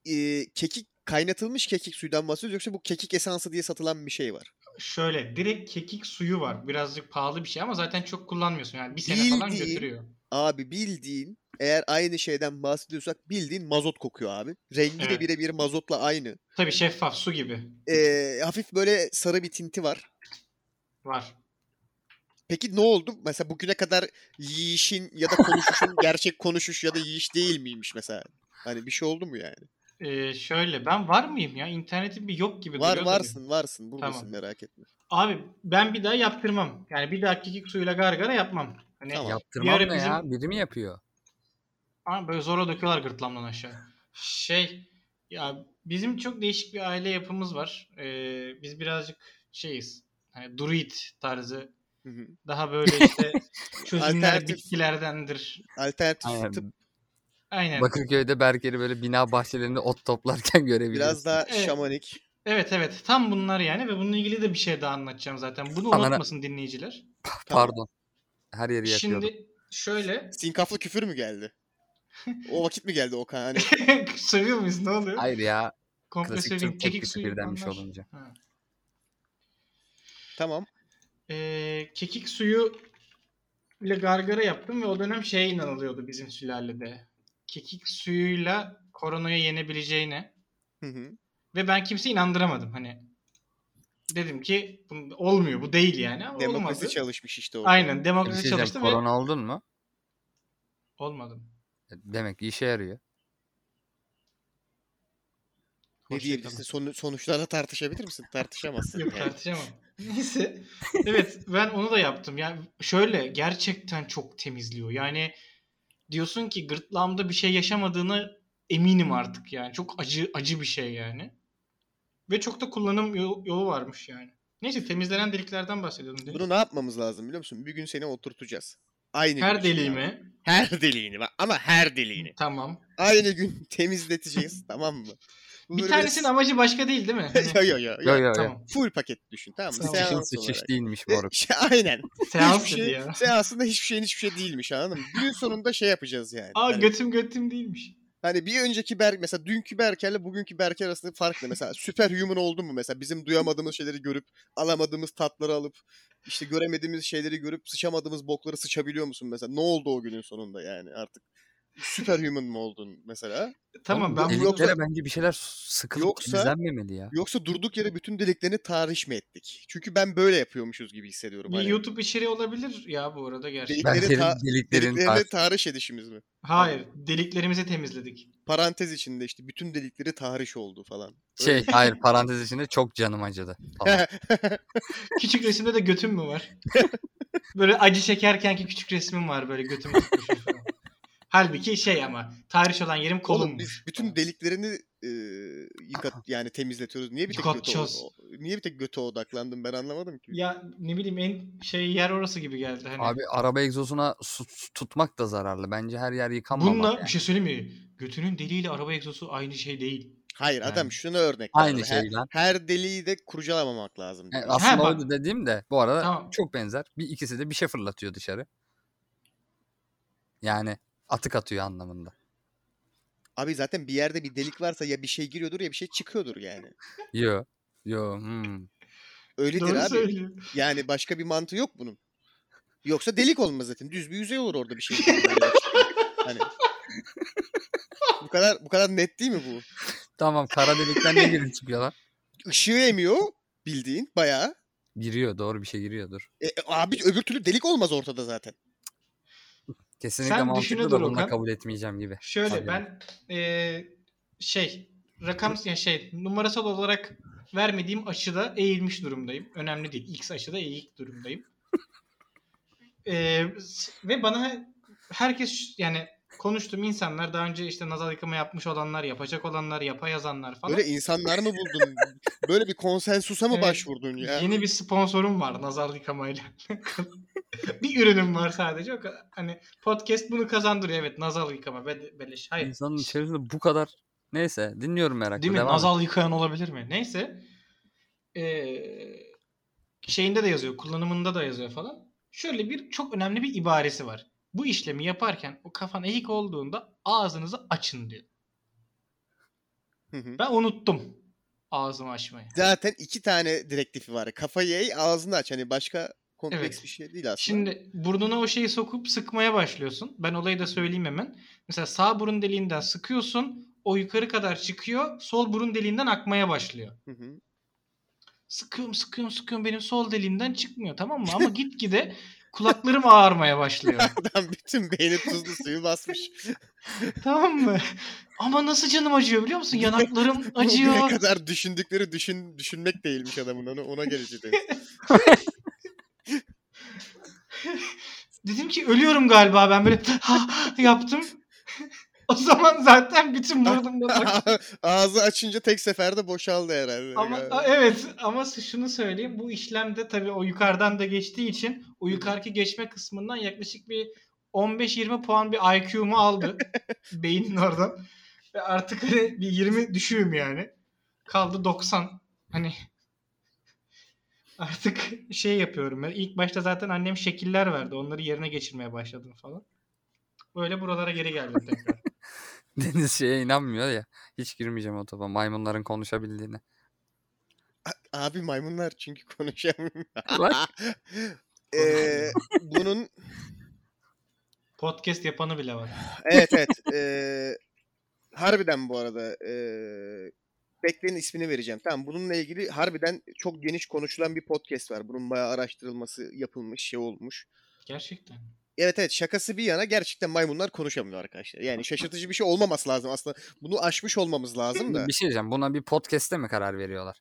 Ee, kekik kaynatılmış kekik suyundan bahsediyoruz yoksa bu kekik esansı diye satılan bir şey var. Şöyle direkt kekik suyu var. Birazcık pahalı bir şey ama zaten çok kullanmıyorsun. Yani bir sene falan Bildiğin- götürüyor. Abi bildiğin eğer aynı şeyden bahsediyorsak bildiğin mazot kokuyor abi. Rengi de Evet. birebir mazotla aynı. Tabii şeffaf su gibi Ee, hafif böyle sarı bir tinti var. var. Peki ne oldu? Mesela bugüne kadar yiyişin ya da konuşuşun gerçek konuşuş ya da yiyiş değil miymiş mesela? Hani bir şey oldu mu yani? Ee, şöyle ben var mıyım ya? İnternetim bir yok Var gibi duruyor da benim. varsın varsın buradasın Tamam. merak etme. Abi ben bir daha yaptırmam. Yani bir daha kekik suyuyla gargara yapmam. Hani Tamam. Yaptırmam Bir ne ara ya? Biri mi yapıyor? Ama böyle zora döküyorlar gırtlağımdan aşağı. Şey ya bizim çok değişik bir aile yapımız var. Ee, biz birazcık şeyiz. Hani druid tarzı. Hı hı. Daha böyle [LAUGHS] işte çözümler Alternatif. bitkilerdendir. Alternatif Aynen. tıp Aynen. Bakırköy'de Berker'i böyle bina bahçelerinde ot toplarken görebiliyorsun. biraz daha Evet. şamanik. Evet evet tam bunlar yani ve bununla ilgili de bir şey daha anlatacağım zaten. Bunu Anana- unutmasın dinleyiciler. Pardon. Her yeri yakıyordum. Şimdi şöyle [LAUGHS] Sinkaflı küfür mü geldi? o vakit mi geldi Okan? Hani sövüyor muyuz ne oluyor? Hayır ya. Komple Klasik söveyim, Türk tek bir suyu fikirdenmiş anlar. olunca. Ha. tamam. Ee, kekik suyu ile gargara yaptım ve o dönem şeye inanılıyordu bizim sülalede. Kekik suyuyla koronaya yenebileceğine Hı hı. ve ben kimseyi inandıramadım hani. Dedim ki bu- olmuyor bu değil yani ama Demokrasi olmadı. çalışmış işte o. Aynen Bir şey demokrasi diyeceğim, çalıştı ve korona oldun mu? olmadım. Demek ki işe yarıyor. Ne Hoşça diyebilirsin? kalın. Sonu- sonuçlarla tartışabilir misin? Tartışamazsın. Yok yani. tartışamam. Neyse. Evet ben onu da yaptım. Yani şöyle gerçekten çok temizliyor. Yani diyorsun ki gırtlağımda bir şey yaşamadığını eminim artık yani. Çok acı acı bir şey yani. Ve çok da kullanım yol- yolu varmış yani. Neyse temizlenen deliklerden bahsediyordum. Değil mi? Bunu ne yapmamız lazım biliyor musun? Bir gün seni oturtacağız. Aynı gün Her şimdi deliğimi abi. Her deliğini bak ama her deliğini. tamam. Aynı gün [LAUGHS] temizleteceğiz tamam mı? Bu Bir böyle biraz- tanesinin amacı başka [LAUGHS] değil değil mi? Hani- yo yo yo. Yo yo. yo yo. tamam. Full paket düşün tamam mı? Tamam. Sıçışın Seans sıçış olarak. değilmiş moruk. [LAUGHS] Aynen. Seans hiçbir dedi şey, ya. [LAUGHS] Seansında hiçbir şeyin hiçbir şey değilmiş anladın mı? Günün sonunda şey yapacağız yani. Aa Hani- götüm götüm değilmiş. Hani bir önceki Berk mesela dünkü Berker'le bugünkü Berker arasında fark ne? Mesela superhuman oldu mu mesela? Bizim duyamadığımız şeyleri görüp alamadığımız tatları alıp işte göremediğimiz şeyleri görüp sıçamadığımız bokları sıçabiliyor musun mesela? Ne oldu o günün sonunda yani artık? Superhuman mı oldun mesela? Tamam ben Oğlum, bunu... yoksa- Deliklere bence bir şeyler sıkılıp Yoksa- temizlenmemeli ya. Yoksa durduk yere bütün deliklerini tahriş mi ettik? Çünkü ben böyle yapıyormuşuz gibi hissediyorum. Bir Hani YouTube içeriği olabilir ya bu arada gerçekten. Ben Delikleri senin ta- deliklerin Deliklerini tar- tahriş edişimiz mi? Hayır deliklerimizi temizledik. Parantez içinde işte bütün delikleri tahriş oldu falan. Öyle [LAUGHS] şey hayır parantez içinde çok canım acıdı. falan. [LAUGHS] Küçük resimde de götüm mü var? [LAUGHS] böyle acı çekerkenki küçük resmim var böyle götüm tutmuşum falan. Halbuki şey ama tarih olan yerim Oğlum biz kolummuş. bütün deliklerini e, yıkat yani temizletiyoruz. Niye bir tek göte, Yıkatacağız. o- niye bir tek göte odaklandım ben anlamadım ki. Ya ne bileyim en şey yer orası gibi geldi. Hani Abi araba egzozuna su su tutmak da zararlı. Bence her yer yıkanmamalı. Bununla yani. bir şey söyleyeyim mi? Götünün deliğiyle araba egzozu aynı şey değil. Hayır adam Yani. şuna örnek Aynı verdi. şey E, Her, lan. her deliği de kurcalamamak lazım. Yani diyor. aslında bak. oydu dediğim de bu arada Tamam. çok benzer. Bir ikisi de bir şey fırlatıyor dışarı. Yani atık atıyor anlamında. Abi zaten bir yerde bir delik varsa ya bir şey giriyordur ya bir şey çıkıyordur yani. Yo. Yo. hmm. Öyledir Doğru abi. söylüyorsun. Yani başka bir mantığı yok bunun. Yoksa delik olmaz zaten. Düz bir yüzey olur orada bir şey. hani. bu kadar bu kadar net değil mi bu? Tamam kara delikten [LAUGHS] ne girip çıkıyor lan? Işığı emiyor bildiğin bayağı. Giriyor doğru bir şey giriyor dur. E, e, abi öbür türlü delik olmaz ortada zaten. Kesinlikle Sen düşüne mantıklı dur da bununla Okan. kabul etmeyeceğim gibi. Şöyle Aynen. ben eee, şey rakam ya şey numarasal olarak vermediğim aşıda eğilmiş durumdayım. Önemli değil. X aşıda eğik durumdayım. Eee, s- ve bana herkes yani konuştuğum insanlar daha önce işte nazal yıkama yapmış olanlar, yapacak olanlar, yapa yazanlar falan. Böyle insanlar mı [LAUGHS] buldun? Böyle bir konsensusa mı Evet. başvurdun ya? Yeni bir sponsorum var nazar yıkamayla. [LAUGHS] bir ürünüm var sadece. O kadar. Hani podcast bunu kazandırıyor. Evet nazal yıkama. Be- beleş. Hayır. İnsanın içerisinde bu kadar neyse dinliyorum merakla. Değil mi? Devam et. Nazal yıkayan olabilir mi? Neyse. Ee, şeyinde de yazıyor. Kullanımında da yazıyor falan. Şöyle bir çok önemli bir ibaresi var. Bu işlemi yaparken o kafan eğik olduğunda ağzınızı açın diyor. Hı hı. Ben unuttum ağzımı açmayı. Zaten iki tane direktifi var. Kafayı eğ, ağzını aç. Hani başka kompleks Evet. bir şey değil aslında. Şimdi burnuna o şeyi sokup sıkmaya başlıyorsun. Ben olayı da söyleyeyim hemen. Mesela sağ burun deliğinden sıkıyorsun. O yukarı kadar çıkıyor. Sol burun deliğinden akmaya başlıyor. Hı hı. Sıkıyorum sıkıyorum sıkıyorum benim sol deliğimden çıkmıyor tamam mı? Ama gitgide kulaklarım [LAUGHS] ağarmaya başlıyor. Adam bütün beyni tuzlu suyu basmış. tamam mı? Ama nasıl canım acıyor biliyor musun? Yanaklarım Bugüne [LAUGHS] acıyor. kadar düşündükleri düşün, düşünmek değilmiş adamın. Ona, ona [LAUGHS] geleceğiz. Dedim ki ölüyorum galiba ben böyle yaptım. o zaman zaten bütün burnumda [LAUGHS] Ağzı açınca tek seferde boşaldı herhalde. Ama Yani. a- evet ama s- şunu söyleyeyim bu işlemde tabii o yukarıdan da geçtiği için o yukarıki geçme kısmından yaklaşık bir 15-20 puan bir [LAUGHS] IQ'mu aldı beynin oradan. Ve artık hani bir 20 düşüğüm yani. Kaldı 90. Hani artık şey yapıyorum. Ben ilk başta zaten annem şekiller verdi. Onları yerine geçirmeye başladım falan. Böyle buralara geri geldim [LAUGHS] tekrar. [LAUGHS] Deniz şeye inanmıyor ya. Hiç girmeyeceğim o topa maymunların konuşabildiğine. Abi maymunlar çünkü konuşamıyor. Lan. [LAUGHS] Ee, bunun Podcast yapanı bile var. evet evet ee, harbiden bu arada ee, bekleyin ismini vereceğim. Tamam bununla ilgili harbiden çok geniş konuşulan bir podcast var. Bunun bayağı araştırılması yapılmış şey olmuş. Gerçekten. Evet evet şakası bir yana gerçekten maymunlar konuşamıyor arkadaşlar. Yani şaşırtıcı bir şey olmaması lazım aslında. Bunu aşmış olmamız lazım da. Bir şey diyeceğim. Buna bir podcast'te mi karar veriyorlar?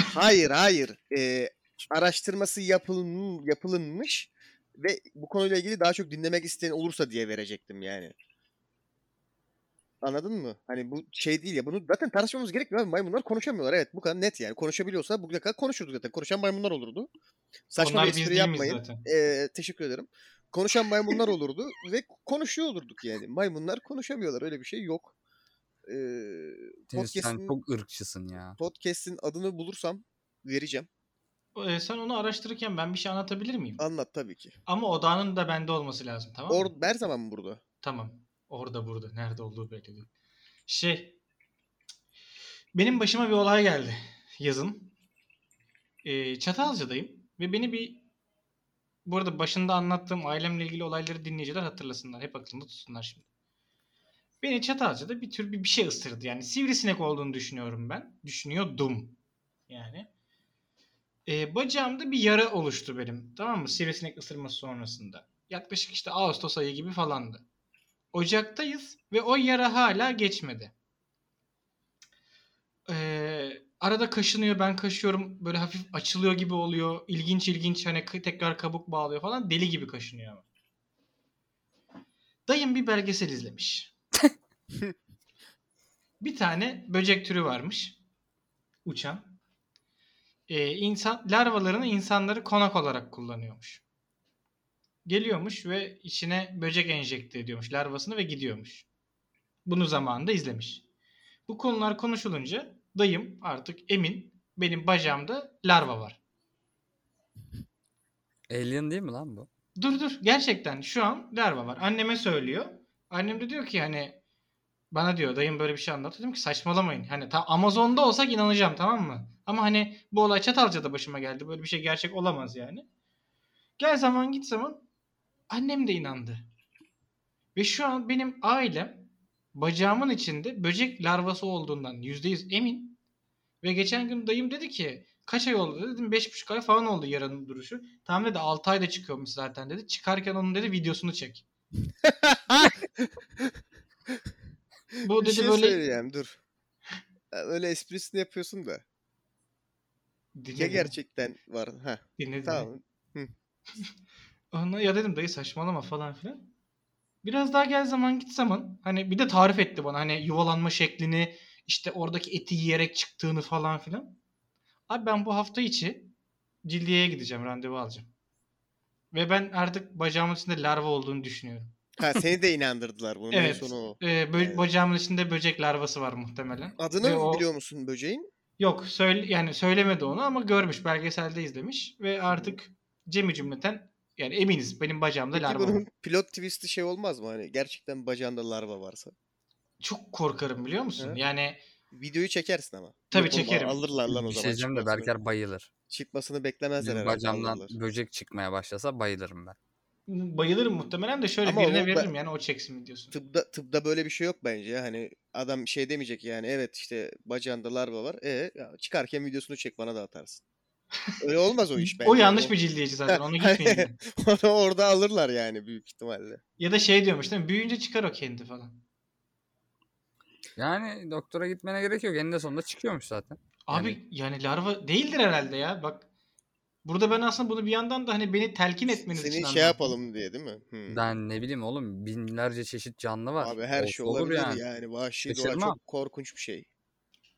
Hayır hayır. Ee, araştırması yapılın, yapılınmış ve bu konuyla ilgili daha çok dinlemek isteyen olursa diye verecektim yani. Anladın mı? Hani bu şey değil ya. Bunu zaten tartışmamız gerekmiyor. abi. Maymunlar konuşamıyorlar. Evet bu kadar net yani. Konuşabiliyorsa bugüne kadar konuşurduk zaten. Konuşan maymunlar olurdu. Saçma Onlar bir biz espri değil miyiz yapmayın. zaten? Ee, teşekkür ederim. Konuşan maymunlar olurdu ve konuşuyor olurduk yani. Maymunlar konuşamıyorlar. Öyle bir şey yok. Ee, Deniz sen podcast'in- çok ırkçısın ya. podcast'in adını bulursam vereceğim. Ee, sen onu araştırırken ben bir şey anlatabilir miyim? Anlat tabii ki. Ama odağının da bende olması lazım tamam mı? Or her zaman [LAUGHS] burada. tamam. Orada burada. Nerede olduğu belli değil. Şey. Benim başıma bir olay geldi. Yazın. Ee, Çatalca'dayım. Ve beni bir bu arada başında anlattığım ailemle ilgili olayları dinleyiciler hatırlasınlar. Hep aklında tutsunlar şimdi. Beni Çatalca'da bir tür bir, bir şey ısırdı. Yani sivrisinek olduğunu düşünüyorum ben. Düşünüyordum. Yani. E, bacağımda bir yara oluştu benim. Tamam mı? Sivrisinek ısırması sonrasında. Yaklaşık işte Ağustos ayı gibi falandı. Ocaktayız ve o yara hala geçmedi. Ee, arada kaşınıyor ben kaşıyorum böyle hafif açılıyor gibi oluyor. İlginç ilginç hani k- tekrar kabuk bağlıyor falan deli gibi kaşınıyor ama. Dayım bir belgesel izlemiş. bir tane böcek türü varmış. Uçan. Ee, insan, larvalarını insanları konak olarak kullanıyormuş. Geliyormuş ve içine böcek enjekte ediyormuş larvasını ve gidiyormuş. Bunu zamanında izlemiş. Bu konular konuşulunca dayım artık emin benim bacağımda larva var. Alien değil mi lan bu? Dur dur gerçekten şu an larva var. Anneme söylüyor. Annem de diyor ki hani bana diyor dayım böyle bir şey anlattı. Dedim ki saçmalamayın. Hani ta Amazon'da olsak inanacağım tamam mı? Ama hani bu olay Çatalca'da başıma geldi. Böyle bir şey gerçek olamaz yani. Gel zaman git zaman annem de inandı. Ve şu an benim ailem bacağımın içinde böcek larvası olduğundan %100 emin. Ve geçen gün dayım dedi ki kaç ay oldu dedim 5,5 ay falan oldu yaranın duruşu. Tamam dedi 6 ayda çıkıyormuş zaten dedi. Çıkarken onun dedi videosunu çek. Bu Bir dedi şey böyle söyleyeceğim dur. Ya Öyle esprisini yapıyorsun da. Ya dinledi. gerçekten var. Ha Dinledi. tamam. Ona ya dedim dayı saçmalama falan filan. Biraz daha gel zaman git zaman hani bir de tarif etti bana hani yuvalanma şeklini işte oradaki eti yiyerek çıktığını falan filan. Abi ben bu hafta içi cildiye'ye gideceğim randevu alacağım. Ve ben artık bacağımın içinde larva olduğunu düşünüyorum. Ha seni de inandırdılar bunun en Evet. sonu o. Ee, bö- Evet. Bacağımın içinde böcek larvası var muhtemelen. Adını Ve mı o- biliyor musun böceğin? Yok söyle yani söylemedi onu ama görmüş belgeselde izlemiş ve artık cemi cümleten yani eminiz benim bacağımda Peki larva var. bunun pilot twist'i şey olmaz mı? Hani gerçekten bacağında larva varsa. Çok korkarım biliyor musun? Evet. Yani Videoyu çekersin ama. Tabii Yok oğlum, çekerim. Alırlar lan o bir şey zaman. diyeceğim de çıkmasını. Berker bayılır. Çıkmasını beklemezler Benim herhalde. bacağımdan alırlar. böcek çıkmaya başlasa bayılırım ben. bayılırım muhtemelen de şöyle Ama birine o- veririm yani o çeksin mi diyorsun. Tıpda, tıpda böyle bir şey yok bence. ya. Hani adam şey demeyecek yani evet işte bacağında larva var. E ya çıkarken videosunu çek bana da atarsın. Öyle olmaz o iş bence. o yanlış bir cildiyeci zaten onu gitmeyin. yani. [LAUGHS] Onu orada alırlar yani büyük ihtimalle. ya da şey diyormuş değil mi? Büyüyünce çıkar o kendi falan. Yani doktora gitmene gerek yok. Eninde sonunda çıkıyormuş zaten. Abi yani, larva değildir herhalde ya bak. Burada ben aslında bunu bir yandan da hani beni telkin etmeniz için Seni şey anlattım. yapalım diye değil mi? Hmm. Ben ne bileyim oğlum binlerce çeşit canlı var. Abi her Olsa şey olur olabilir yani. Vahşi doğa Şaşırmam. çok korkunç bir şey.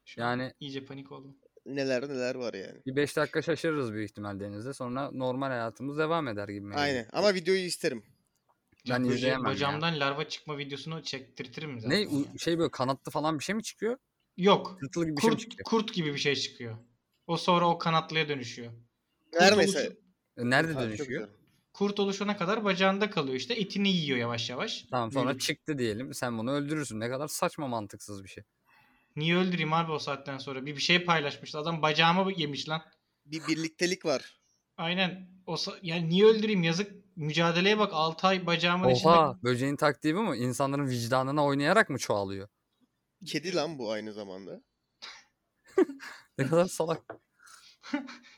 Şu an Yani iyice panik oldum. Neler neler var yani. bir 5 dakika şaşırırız büyük ihtimal denizde. Sonra normal hayatımız devam eder gibi. geliyor. Aynen ama videoyu isterim. Ben Böce- izleyemem ya. Bacağımdan larva çıkma videosunu çektirtirim zaten. Ne u- şey böyle kanatlı falan bir şey mi çıkıyor? Yok. Tırtılı gibi bir şey mi Kurt, çıkıyor? kurt gibi bir şey çıkıyor. O sonra o kanatlıya dönüşüyor. Her Kurt neyse. oluşu- E, Nerede Ha, çok dönüşüyor? güzel. Kurt oluşana kadar bacağında kalıyor işte. Etini yiyor yavaş yavaş. Tamam sonra Böyle bir- çıktı diyelim. Sen bunu öldürürsün. Ne kadar saçma mantıksız bir şey. Niye öldüreyim abi o saatten sonra? Bir bir şey paylaşmıştı. Adam bacağımı yemiş lan. Bir birliktelik var. Aynen. O sa- yani niye öldüreyim yazık. Mücadeleye bak 6 ay bacağımın Oha içinde. böceğin taktiği bu mu? İnsanların vicdanına oynayarak mı çoğalıyor? [LAUGHS] Kedi lan bu aynı zamanda. Ne kadar salak.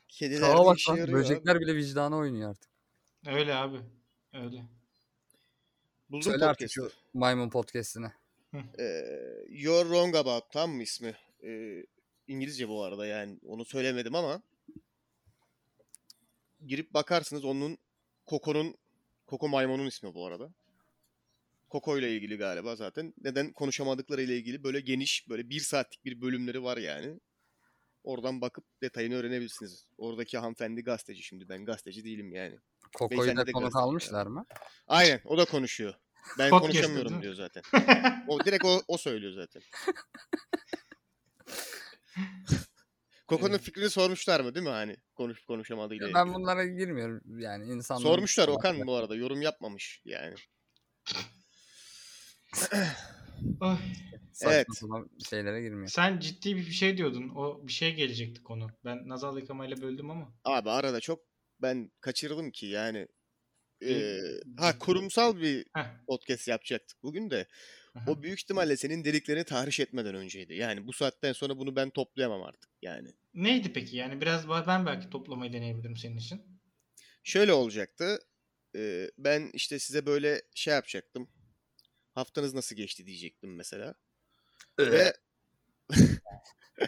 Kediler Sağa de bak işe lan, yarıyor abi. Böcekler bile vicdana oynuyor artık. Öyle abi. Öyle. Buldum Söyle artık podcast'ı. şu maymun podcastine. Ee, You're Wrong About tam mı ismi? Ee, İngilizce bu arada yani onu söylemedim ama girip bakarsınız onun Koko'nun Koko maymunun ismi bu arada. Koko ile ilgili galiba zaten. Neden konuşamadıkları ile ilgili böyle geniş böyle bir saatlik bir bölümleri var yani. Oradan bakıp detayını öğrenebilirsiniz. Oradaki hanımefendi gazeteci şimdi ben gazeteci değilim yani. Koko'yu Beyefendi da de konuk gazeteci almışlar mı? Aynen o da konuşuyor. Ben Podcast'te değil mi? konuşamıyorum diyor zaten. O direkt o, o söylüyor zaten. Koko'nun fikrini sormuşlar mı değil mi hani konuş konuşamadığıyla Ya ilgili. Ben bunlara girmiyorum yani insanlar. Sormuşlar Okan bu arada yorum yapmamış yani. Ay, Evet. şeylere girmiyor. Öh, sen ciddi bir şey diyordun. O bir şey gelecekti konu. Ben nazal yıkamayla böldüm ama. Abi arada çok ben kaçırdım ki yani. Ee, ha kurumsal bir Heh. podcast yapacaktık bugün de. O büyük ihtimalle senin dediklerini tahriş etmeden önceydi. Yani bu saatten sonra bunu ben toplayamam artık yani. Neydi peki yani biraz ba- ben belki toplamayı deneyebilirim senin için. Şöyle olacaktı. Ee, ben işte size böyle şey yapacaktım. Haftanız nasıl geçti diyecektim mesela. Ve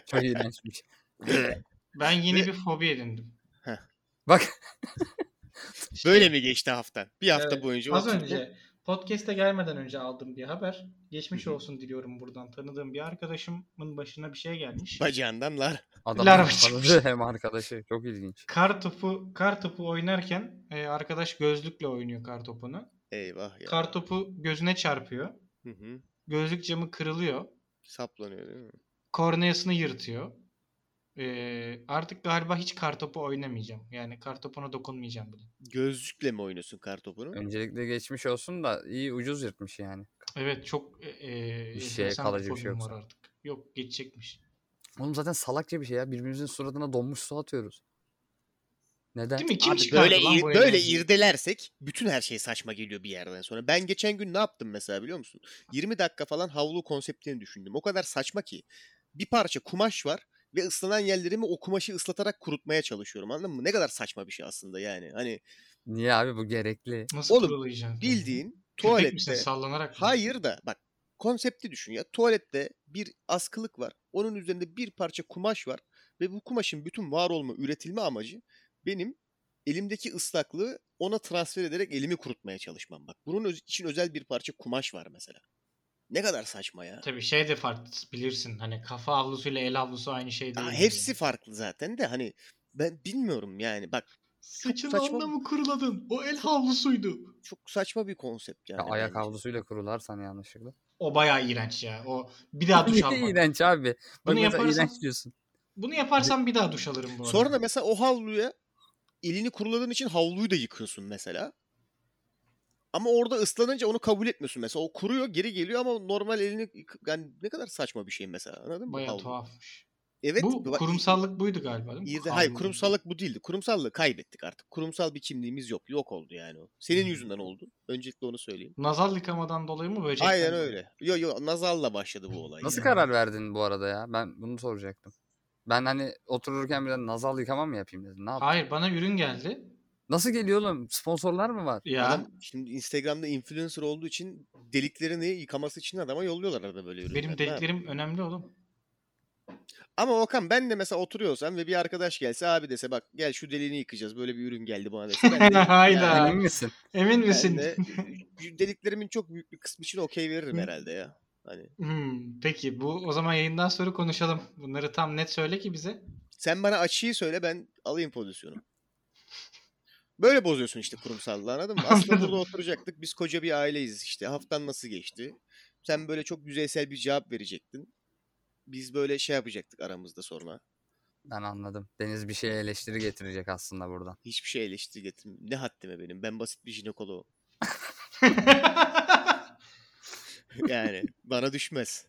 Çok iğrençmiş. [LAUGHS] Ben yeni bir fobi edindim. böyle mi geçti haftan? Bir hafta Evet, boyunca Az oturdum. önce podcast'e gelmeden önce aldığım bir haber. Geçmiş olsun diliyorum buradan. Tanıdığım bir arkadaşımın başına bir şey gelmiş. bacağından lar. Adam Larva çıkmış. [LAUGHS] hem arkadaşı. Çok ilginç. Kar topu kar topu oynarken e, arkadaş gözlükle oynuyor kar topunu. Eyvah ya. Kar topu gözüne çarpıyor. Hı hı. Gözlük camı kırılıyor. Saplanıyor değil mi? korneasını yırtıyor. Ee, artık galiba hiç kartopu oynamayacağım. Yani kartopuna dokunmayacağım bile. Gözlükle mi oynuyorsun kartopunu? Öncelikle geçmiş olsun da iyi ucuz yırtmış yani. Evet çok e, e, Bir şeye enteresan kalıcı bir fobim şey yoksa. var artık. Yok geçecekmiş. Oğlum zaten salakça bir şey ya. Birbirimizin suratına donmuş su atıyoruz. Neden? Değil mi? Kim Abi çıkardı böyle lan ir- bu böyle eğlenceyi? irdelersek bütün her şey saçma geliyor bir yerden sonra. Ben geçen gün ne yaptım mesela biliyor musun? 20 dakika falan havlu konseptini düşündüm. O kadar saçma ki bir parça kumaş var ve ıslanan yerlerimi o kumaşı ıslatarak kurutmaya çalışıyorum anladın mı? Ne kadar saçma bir şey aslında yani. Hani Niye abi bu gerekli? Nasıl Oğlum, kurulayacaksın? bildiğin Köpek misin? tuvalette Sallanarak mı? hayır da bak konsepti düşün ya. Tuvalette bir askılık var. Onun üzerinde bir parça kumaş var ve bu kumaşın bütün var olma, üretilme amacı benim elimdeki ıslaklığı ona transfer ederek elimi kurutmaya çalışmam. Bak bunun öz- için özel bir parça kumaş var mesela. Ne kadar saçma ya. Tabii şey de farklı bilirsin. Hani kafa avlusuyla el avlusu aynı şey değil. Aa, yani. hepsi farklı zaten de hani ben bilmiyorum yani bak Saçını saçma. onda mı kuruladın? O el havlusuydu. çok saçma bir konsept yani. Ya ayak bence. havlusuyla kurularsan yanlışlıkla. O bayağı iğrenç ya. O bir daha duş Niye almak. iğrenç abi? Bak Bunu mesela yaparsan- iğrenç diyorsun. Bunu yaparsam bir daha duş alırım bu arada. Sonra da mesela o havluya elini kuruladığın için havluyu da yıkıyorsun mesela. Ama orada ıslanınca onu kabul etmiyorsun mesela. O kuruyor geri geliyor ama normal elini yık- yani ne kadar saçma bir şey mesela anladın mı? Bayağı Havlu. tuhafmış. Evet. bu bak- kurumsallık buydu galiba değil mi? İyi de- hayır Kanun. kurumsallık bu değildi. Kurumsallığı kaybettik artık. Kurumsal bir kimliğimiz yok. Yok oldu yani o. Senin Hmm. yüzünden oldu. Öncelikle onu söyleyeyim. Nazal yıkamadan dolayı mı böcekten? Aynen dolayı? öyle. Yo yo nazalla başladı bu olay. Nasıl yani. karar verdin bu arada ya? Ben bunu soracaktım. Ben hani otururken birden nazal yıkama mı yapayım dedim. Ne yapayım? Hayır bana ürün geldi. Nasıl geliyor oğlum? Sponsorlar mı var? Ya Adam şimdi Instagram'da influencer olduğu için deliklerini yıkaması için adama yolluyorlar arada böyle ürünler. benim Ne deliklerim önemli oğlum. Ama Okan ben de mesela oturuyorsam ve bir arkadaş gelse abi dese bak gel şu deliğini yıkacağız böyle bir ürün geldi bana dese. Ben de, [LAUGHS] Hayda. yani Emin misin? Emin ben misin? de deliklerimin çok büyük bir kısmı için okey veririm herhalde ya. Hani Hmm, peki bu o zaman yayından sonra konuşalım. Bunları tam net söyle [LAUGHS] ki bize. sen bana açıyı söyle ben alayım pozisyonu. Böyle bozuyorsun işte kurumsallığı anladın mı? Aslında Anladım. burada oturacaktık. Biz koca bir aileyiz işte. Haftan nasıl geçti? Sen böyle çok yüzeysel bir cevap verecektin. Biz böyle şey yapacaktık aramızda sonra. Ben anladım. Deniz bir şey eleştiri getirecek aslında buradan. Hiçbir şey eleştiri getirme. Ne haddime benim. Ben basit bir jinekoloğum. Yani bana düşmez.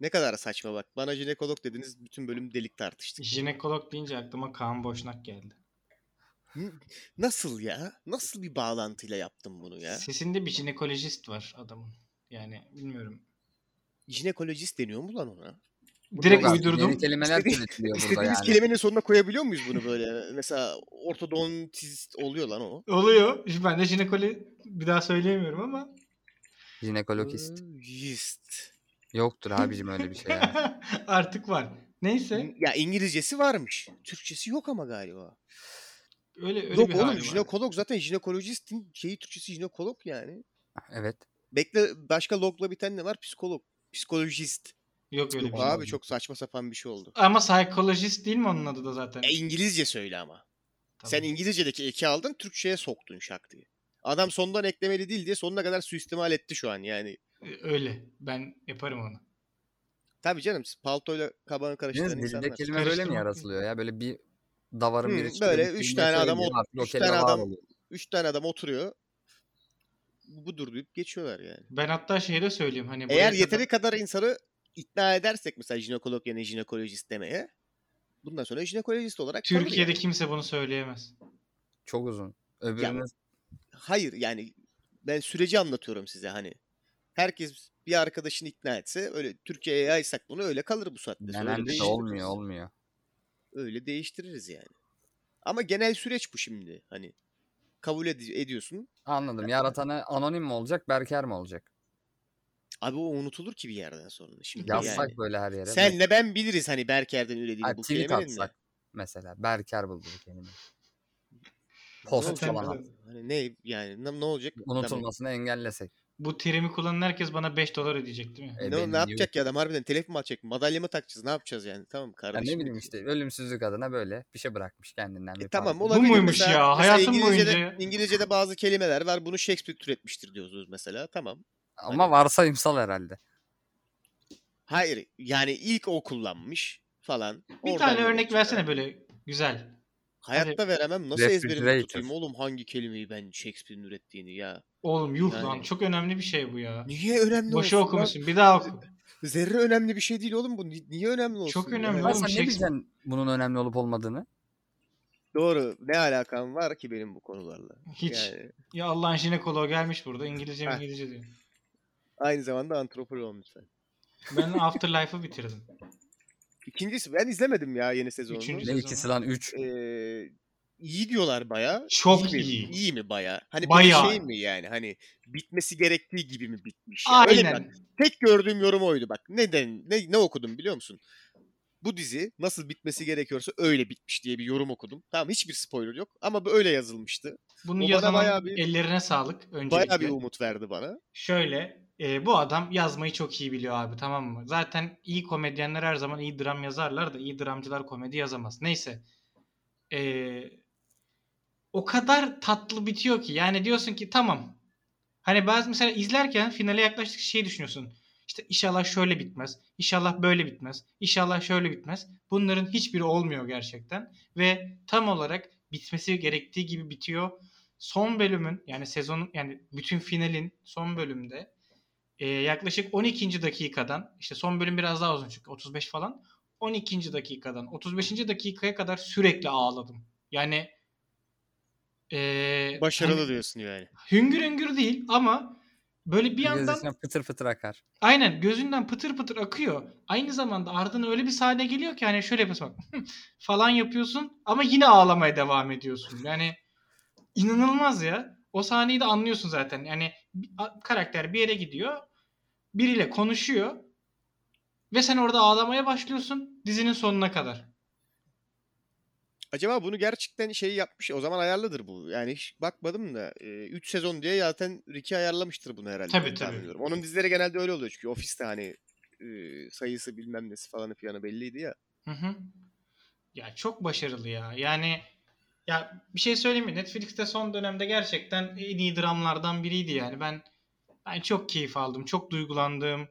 Ne kadar saçma bak. Bana jinekolog dediniz bütün bölüm delik tartıştık. Jinekolog deyince aklıma Kaan Boşnak geldi. N- Nasıl ya? Nasıl bir bağlantıyla yaptım bunu ya? Sesinde bir jinekolojist var adamın. Yani bilmiyorum. Jinekolojist deniyor mu lan ona? Direkt Yok abi, uydurdum. Yeni kelimeler İstedi- [LAUGHS] türetiliyor burada İstediğimiz yani. kelimenin sonuna koyabiliyor muyuz bunu böyle? [LAUGHS] Mesela ortodontist oluyor lan o. Oluyor. Şimdi Ben de jinekoli bir daha söyleyemiyorum ama. Jinekologist. Jist. Yoktur abicim öyle bir şey ya. [LAUGHS] Artık var. Neyse. Ya İngilizcesi varmış. Türkçesi yok ama galiba. Öyle öyle yok bir oğlum hali var. jinekolog zaten jinekolojistin şeyi Türkçesi jinekolog yani. Evet. Bekle başka logla biten ne var? Psikolog. Psikolojist. Yok öyle Yok bir şey. abi çok saçma sapan bir şey oldu. Ama psikolojist değil mi onun adı da zaten? E, İngilizce söyle ama. Tamam. Sen İngilizce'deki eki aldın Türkçe'ye soktun şak diye. Adam sondan eklemeli değil diye sonuna kadar suistimal etti şu an yani. E, Öyle. Ben yaparım onu. Tabii canım paltoyla kabanı karıştıran Deniz dilde insanlar. kelime böyle mi Karıştırmak yaratılıyor ya? Böyle bir davarın Hı, biri çıkıyor. böyle bir üç kelime tane adam söylüyor, ol- artık o üç kelime tane var adam- oluyor. Üç tane adam oturuyor. Budur deyip geçiyorlar yani. Ben hatta şeyi de söyleyeyim. Hani buraya Eğer kadar- yeteri kadar insanı ikna edersek mesela jinekolog yerine jinekolojist demeye bundan sonra jinekolojist olarak kalır Türkiye'de yani. kimse bunu söyleyemez. Çok uzun. Öbürünü Hayır yani ben süreci anlatıyorum size hani. herkes bir arkadaşını ikna etse öyle Türkiye'ye yaysak bunu öyle kalır bu saatte. sonra. Öyle Genelde de değiştiririz. olmuyor olmuyor. Öyle değiştiririz yani. Ama genel süreç bu şimdi. Hani kabul ed- ediyorsun. Anladım. Yaratanı anonim mi olacak, Berker [LAUGHS] mi olacak? Abi o unutulur ki bir yerden sonra. Şimdi Yazsak yani. böyle her yere. Senle ben biliriz hani Berker'den Ha, ürediğini bu tweet kelimenin de. atsak mesela. Berker buldu bu kelimeyi. Ne Post olacak? falan. abi. Hani ne yani ne, ne olacak? Tamam. Unutulmasını engellesek. Bu terimi kullanan herkes bana 5 dolar ödeyecek değil mi? E, Ne, benim ne yapacak YouTube- ya adam harbiden telef mi atacak? Madalya mı takacağız? Ne yapacağız yani? Tamam Ya kardeşim. ne bileyim işte ölümsüzlük adına böyle bir şey bırakmış kendinden. şey. E bir tamam parça. olabilir. muymuş Mesela- ya? mesela Hayatım İngilizce'de, boyunca- İngilizce'de bazı kelimeler var. Bunu Shakespeare türetmiştir diyoruz mesela. Tamam. Ama varsayımsal herhalde. Hayır. Yani ilk o kullanmış falan. Bir Oradan tane yola örnek çıkar. versene Hani böyle güzel. Hayatta veremem. Nasıl ezberimde Refrigerator. tutayım oğlum hangi kelimeyi ben Shakespeare'in ürettiğini ya. Oğlum yuh Yani. lan çok önemli bir şey bu ya. Niye önemli olsun? Boşa lan? okumuşsun. Bir daha oku. Zerre önemli bir şey değil oğlum bu. Ni- Niye önemli olsun? Çok ya? önemli Ama oğlum. şey- sen ne Shakespeare- bileceksin bunun önemli olup olmadığını? Doğru. Ne alakam var ki benim bu konularla? Hiç. Yani Ya Allah'ın jinekoloğu gelmiş burada. İngilizce Heh. İngilizce diyor. aynı zamanda antropologum lütfen. Ben [LAUGHS] Afterlife'ı bitirdim. İkincisi ben izlemedim ya yeni sezonunu. Üçüncüsü. Ne Biz ikisi lan 3. Ee, iyi diyorlar baya. Çok iyi. Mi? İyi mi baya? Hani Bayağı. bir şey mi yani? Hani bitmesi gerektiği gibi mi bitmiş? ya? Öyle mi? Aynen. tek gördüğüm yorum oydu bak. Neden ne ne okudum biliyor musun? Bu dizi nasıl bitmesi gerekiyorsa öyle bitmiş diye bir yorum okudum. Tamam hiçbir spoiler yok ama böyle yazılmıştı. Bunu O bana yazan bayağı bir- ellerine sağlık öncelikle. Bayağı bir umut verdi bana. Şöyle e, bu adam yazmayı çok iyi biliyor abi tamam mı? Zaten iyi komedyenler her zaman iyi dram yazarlar da iyi dramcılar komedi yazamaz. Neyse. E, o kadar tatlı bitiyor ki yani diyorsun ki tamam. Hani bazı mesela izlerken finale yaklaştık şey düşünüyorsun. İşte inşallah şöyle bitmez. inşallah böyle bitmez. inşallah şöyle bitmez. Bunların hiçbiri olmuyor gerçekten. Ve tam olarak bitmesi gerektiği gibi bitiyor son bölümün yani sezonun yani bütün finalin son bölümde e, yaklaşık 12. dakikadan işte son bölüm biraz daha uzun çünkü 35 falan 12. dakikadan 35. dakikaya kadar sürekli ağladım. Yani e, Başarılı hani diyorsun yani. hüngür hüngür değil ama böyle bir yandan Gözüne fıtır fıtır akar. aynen gözünden pıtır pıtır akıyor. Aynı zamanda ardına öyle bir sahne geliyor ki hani şöyle yapıyorsun bak falan yapıyorsun ama yine ağlamaya devam ediyorsun. Yani inanılmaz ya. O sahneyi de anlıyorsun zaten. Yani bir- a- karakter bir yere gidiyor. Biriyle konuşuyor. Ve sen orada ağlamaya başlıyorsun dizinin sonuna kadar. Acaba bunu gerçekten şey yapmış o zaman ayarlıdır bu. Yani hiç bakmadım da 3 sezon diye zaten Ricky ayarlamıştır bunu herhalde. Tabii, diye tahmin tabii. ediyorum. Onun dizileri genelde öyle oluyor çünkü ofiste hani e, sayısı bilmem nesi falanı fiyanı belliydi ya. Hı hı. Ya çok başarılı ya. Yani ya bir şey söyleyeyim mi? Netflix'te son dönemde gerçekten en iyi dramlardan biriydi yani. Ben ben çok keyif aldım. Çok duygulandım.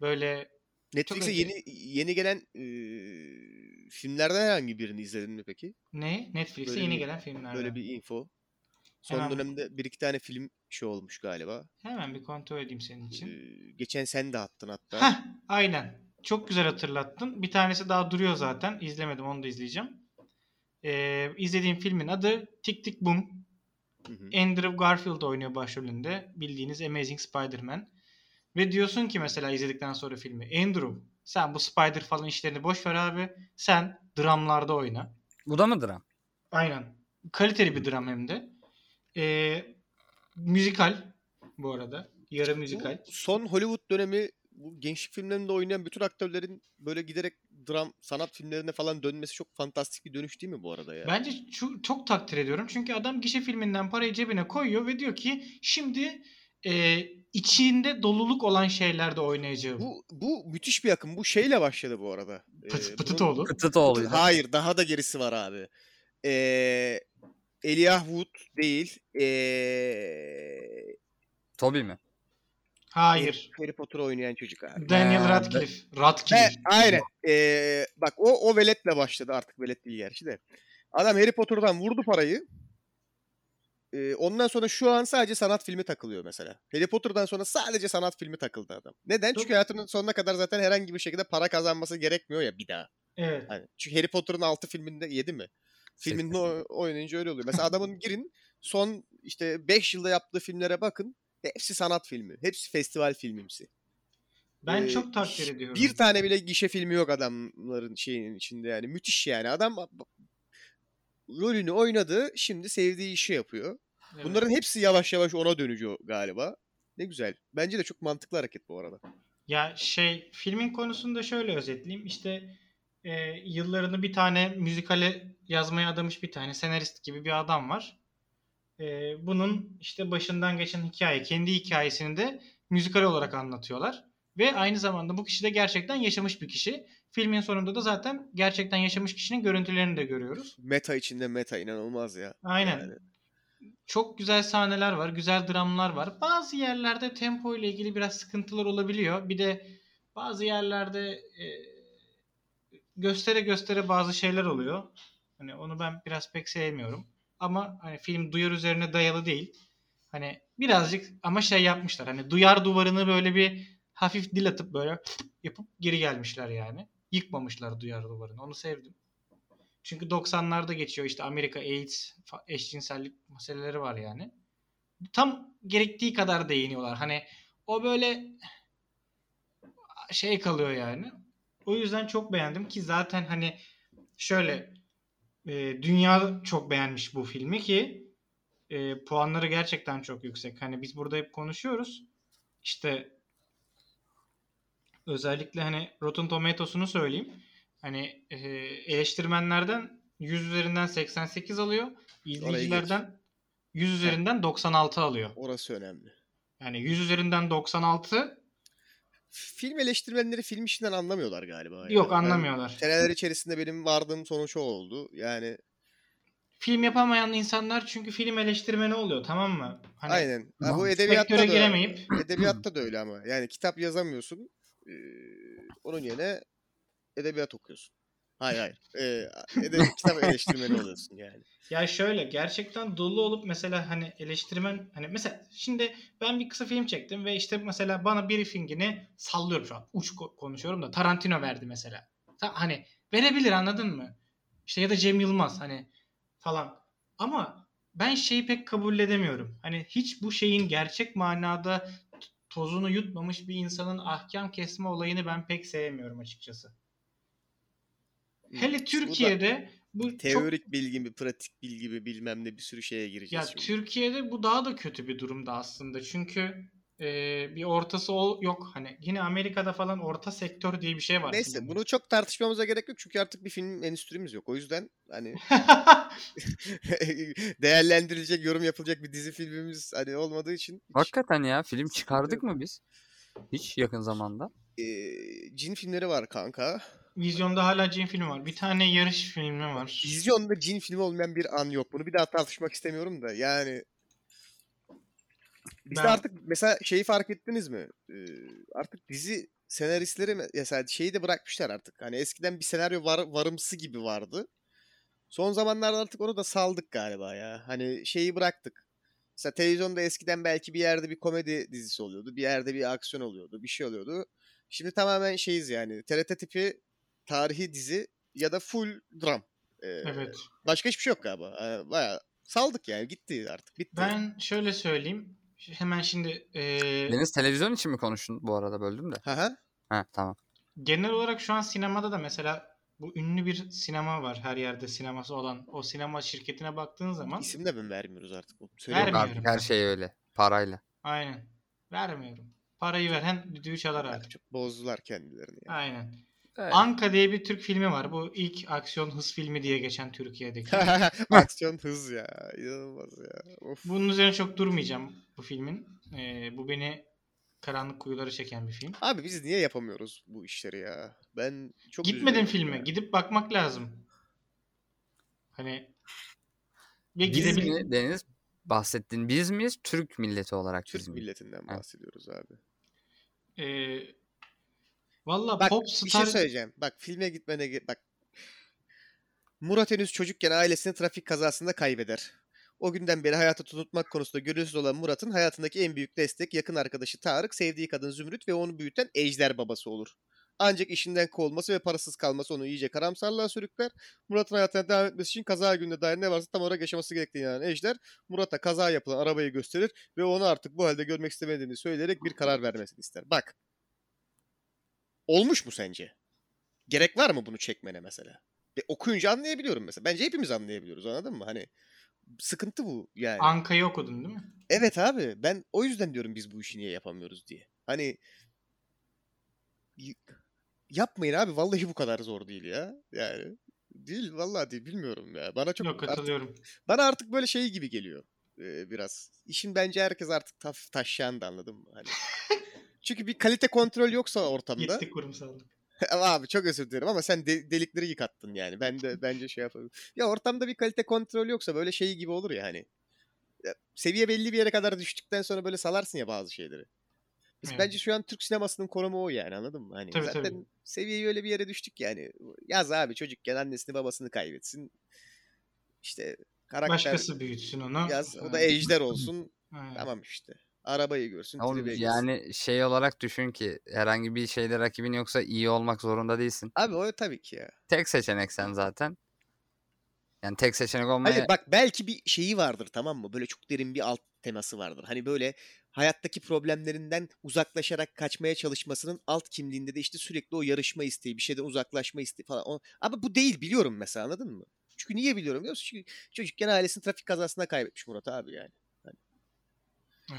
Böyle Netflix'e önce- yeni yeni gelen e, filmlerden herhangi birini izledin mi peki? ne? Netflix'e Böyle yeni bir- gelen filmlerden. Böyle bir info. Son Hemen- dönemde bir iki tane film şey olmuş galiba. Hemen bir kontrol edeyim senin için. Ee, geçen sen de attın hatta. Heh, aynen. Çok güzel hatırlattın. Bir tanesi daha duruyor zaten. İzlemedim onu da izleyeceğim. Ee, izlediğim filmin adı Tik Tik Boom. Hı hı. Andrew Garfield oynuyor başrolünde. Bildiğiniz Amazing Spider-Man. Ve diyorsun ki mesela izledikten sonra filmi Andrew sen bu Spider falan işlerini boş ver abi. Sen dramlarda oyna. Bu da mı dram? Aynen. Kaliteli bir dram hem de. Ee, müzikal bu arada. Yarı müzikal. Bu son Hollywood dönemi bu gençlik filmlerinde oynayan bütün aktörlerin böyle giderek dram sanat filmlerine falan dönmesi çok fantastik bir dönüş değil mi bu arada ya? Bence çu- çok takdir ediyorum. Çünkü adam gişe filminden parayı cebine koyuyor ve diyor ki şimdi e, içinde doluluk olan şeylerde oynayacağım. Bu bu müthiş bir akım. Bu şeyle başladı bu arada. Ee, Pıt, bunun- Pıtıtoğlu. Kıtıt oluyor. Hayır, daha da gerisi var abi. Ee, Elijah Wood değil. Ee, Tobi mi? Hayır. Harry Potter oynayan çocuk abi. Daniel Ha, Radcliffe. He, Radcliffe. Ee, aynen. Ee, bak o o veletle başladı artık velet değil gerçi de. Adam Harry Potter'dan vurdu parayı. Ee, ondan sonra şu an sadece sanat filmi takılıyor mesela. Harry Potter'dan sonra sadece sanat filmi takıldı adam. Neden? Tabii. Çünkü hayatının sonuna kadar zaten herhangi bir şekilde para kazanması gerekmiyor ya bir daha. Evet. Hani çünkü Harry Potter'ın 6 filminde 7 mi? Filminde o- oynayınca öyle oluyor. Mesela adamın girin son işte 5 yılda yaptığı filmlere bakın. Hepsi sanat filmi. Hepsi festival filmimsi. Ben Ee, çok hiç- takdir ediyorum. Bir tane bile gişe filmi yok adamların şeyinin içinde yani. Müthiş yani. Adam b- rolünü oynadı. Şimdi sevdiği işi yapıyor. Evet. Bunların hepsi yavaş yavaş ona dönüyor galiba. Ne güzel. Bence de çok mantıklı hareket bu arada. Ya şey filmin konusunu da şöyle özetleyeyim. İşte e, yıllarını bir tane müzikale yazmaya adamış bir tane senarist gibi bir adam var. E, bunun işte başından geçen hikaye, kendi hikayesini de müzikal olarak anlatıyorlar. Ve aynı zamanda bu kişi de gerçekten yaşamış bir kişi. Filmin sonunda da zaten gerçekten yaşamış kişinin görüntülerini de görüyoruz. Meta içinde meta inanılmaz ya. Aynen. Yani. Çok güzel sahneler var, güzel dramlar var. Bazı yerlerde tempo ile ilgili biraz sıkıntılar olabiliyor. Bir de bazı yerlerde e, göstere göstere bazı şeyler oluyor. Hani onu ben biraz pek sevmiyorum. Ama hani film duyar üzerine dayalı değil. Hani birazcık ama şey yapmışlar. Hani duyar duvarını böyle bir hafif dil atıp böyle yapıp geri gelmişler yani. Yıkmamışlar duyar duvarını. Onu sevdim. Çünkü 90'larda geçiyor işte Amerika AIDS fa- eşcinsellik meseleleri var yani. Tam gerektiği kadar değiniyorlar. Hani o böyle şey kalıyor yani. O yüzden çok beğendim ki zaten hani şöyle e, dünya çok beğenmiş bu filmi ki e, puanları gerçekten çok yüksek. Hani biz burada hep konuşuyoruz. İşte özellikle hani Rotten Tomatoes'unu söyleyeyim. Hani e, eleştirmenlerden 100 üzerinden 88 alıyor. İzleyicilerden 100 üzerinden 96 alıyor. Orası önemli. Yani 100 üzerinden 96 Film eleştirmenleri film işinden anlamıyorlar galiba. yani. yok Ben anlamıyorlar. Seneler içerisinde benim vardığım sonuç o oldu. Yani Film yapamayan insanlar çünkü film eleştirmeni oluyor tamam mı? Hani aynen. Ha, bu Sektöre edebiyatta da, sektöre giremeyip edebiyatta da öyle ama. Yani kitap yazamıyorsun. Ee, onun yerine edebiyat okuyorsun. Hayır hayır. Ee, ede- kitap eleştirmeni oluyorsun yani. ya şöyle gerçekten dolu olup mesela hani eleştirmen hani mesela şimdi ben bir kısa film çektim ve işte mesela bana briefingini sallıyorum şu an. Uç ko- konuşuyorum da Tarantino verdi mesela. Ta- hani verebilir anladın mı? İşte ya da Cem Yılmaz hani falan. Ama ben şeyi pek kabul edemiyorum. Hani hiç bu şeyin gerçek manada t- tozunu yutmamış bir insanın ahkam kesme olayını ben pek sevmiyorum açıkçası. Hele Türkiye'de bu çok Hmm. Teorik bilgi mi, pratik bilgi mi bilmem ne bir sürü şeye ya gireceğiz. şimdi. Türkiye'de bu daha da kötü bir durumda aslında. Çünkü e, bir ortası ol, yok hani yine Amerika'da falan orta sektör diye bir şey var. Neyse filmde. bunu çok tartışmamıza gerek yok çünkü artık bir film endüstrimiz yok. O yüzden hani [LAUGHS] değerlendirilecek, yorum yapılacak bir dizi filmimiz hani olmadığı için hiç, Hakikaten ya film çıkardık mı biz? Hiç yakın zamanda. Ee, cin filmleri var kanka. [LAUGHS] Vizyonda hala cin filmi var. Bir tane yarış filmi var. Vizyonda cin filmi olmayan bir an yok. Bunu bir daha tartışmak istemiyorum da yani. Biz de Ben- artık mesela şeyi fark ettiniz mi? Ee, artık dizi senaristleri me- mesela şeyi de bırakmışlar artık. Hani eskiden bir senaryo var, varımsı gibi vardı. Son zamanlarda artık onu da saldık galiba ya. Hani şeyi bıraktık. Mesela televizyonda eskiden belki bir yerde bir komedi dizisi oluyordu. Bir yerde bir aksiyon oluyordu. Bir şey oluyordu. Şimdi tamamen şeyiz yani. TRT tipi tarihi dizi ya da full dram. Ee, Evet. Başka hiçbir şey yok galiba. Ee, bayağı saldık yani. Gitti artık. Bitti. Ben şöyle söyleyeyim. Ş- Hemen şimdi e, Deniz televizyon için mi konuştun bu arada böldüm de. Aha. Ha tamam. genel olarak şu an sinemada da mesela bu ünlü bir sinema var. Her yerde sineması olan o sinema şirketine baktığın zaman İsim de mi vermiyoruz artık? Yok Söyleyeyim Vermiyor. abi. artık her şey öyle. Parayla. aynen vermiyorum. Parayı veren düdüğü çalar artık. Çok bozdular kendilerini. ya. Aynen. Evet. Anka diye bir Türk filmi var. Bu ilk aksiyon hız filmi diye [LAUGHS] geçen Türkiye'deki. Aksiyon hız ya. İnanılmaz ya. Of. Bunun üzerine çok durmayacağım bu filmin. Ee, bu beni karanlık kuyulara çeken bir film. Abi biz niye yapamıyoruz bu işleri ya? Ben çok Gitmedim üzülüyorum filme. ya. Gidip bakmak lazım. Hani bir Biz gidebil mi Deniz? Bahsettin. Biz miyiz? Türk milleti olarak biz Türk miyiz? milletinden bahsediyoruz abi. Ee, Valla Bak pop bir star şey söyleyeceğim. Bak filme gitmene ge- bak. Murat henüz çocukken ailesini trafik kazasında kaybeder. O günden beri hayata tutunmak konusunda gönülsüz olan Murat'ın hayatındaki en büyük destek yakın arkadaşı Tarık, sevdiği kadın Zümrüt ve onu büyüten Ejder babası olur. Ancak işinden kovulması ve parasız kalması onu iyice karamsarlığa sürükler. Murat'ın hayatına devam etmesi için kaza gününe dair ne varsa tam olarak yaşaması gerektiğini inanan Ejder, Murat'a kaza yapılan arabayı gösterir ve onu artık bu halde görmek istemediğini söyleyerek bir karar vermesini ister. Bak. Olmuş mu sence? Gerek var mı bunu çekmene mesela? Ve okuyunca anlayabiliyorum mesela. Bence hepimiz anlayabiliyoruz anladın mı? Hani sıkıntı bu yani. Anka'yı okudun değil mi? Evet abi ben o yüzden diyorum biz bu işi niye yapamıyoruz diye. Hani y- yapmayın abi vallahi bu kadar zor değil ya. Yani değil vallahi değil bilmiyorum ya. Bana çok Yok artık- katılıyorum. bana artık böyle şey gibi geliyor e, biraz. İşin bence herkes artık taf taşyandı anladın mı? [LAUGHS] Hani. Çünkü bir kalite kontrol yoksa ortamda. Gittik kurumsallık. [LAUGHS] abi çok özür dilerim ama sen de- delikleri yıkattın yani. Ben [LAUGHS] de bence şey yapabilirim. Ya ortamda bir kalite kontrol yoksa böyle şey gibi olur ya hani. Ya Seviye belli bir yere kadar düştükten sonra böyle salarsın ya bazı şeyleri. Biz Evet. bence şu an Türk sinemasının konumu o yani anladın mı? Hani Tabii, zaten tabii. seviyeyi öyle bir yere düştük yani. Yaz abi çocukken annesini babasını kaybetsin. İşte karakter Başkası büyütsün onu. yaz o da Ha, [LAUGHS] ejder olsun. ha. tamam işte. Arabayı görsün. Ya oğlum, tribe girsin. yani şey olarak düşün ki herhangi bir şeyde rakibin yoksa iyi olmak zorunda değilsin. Abi o tabii ki ya. Tek seçenek sen zaten. Yani tek seçenek olmaya [LAUGHS] Hayır Hani bak belki bir şeyi vardır tamam mı? Böyle çok derin bir alt teması vardır. Hani böyle hayattaki problemlerinden uzaklaşarak kaçmaya çalışmasının alt kimliğinde de işte sürekli o yarışma isteği, bir şeyden uzaklaşma isteği falan. O- Ama bu değil biliyorum mesela anladın mı? Çünkü niye biliyorum biliyor musun? Çünkü çocukken ailesini trafik kazasında kaybetmiş Murat abi yani.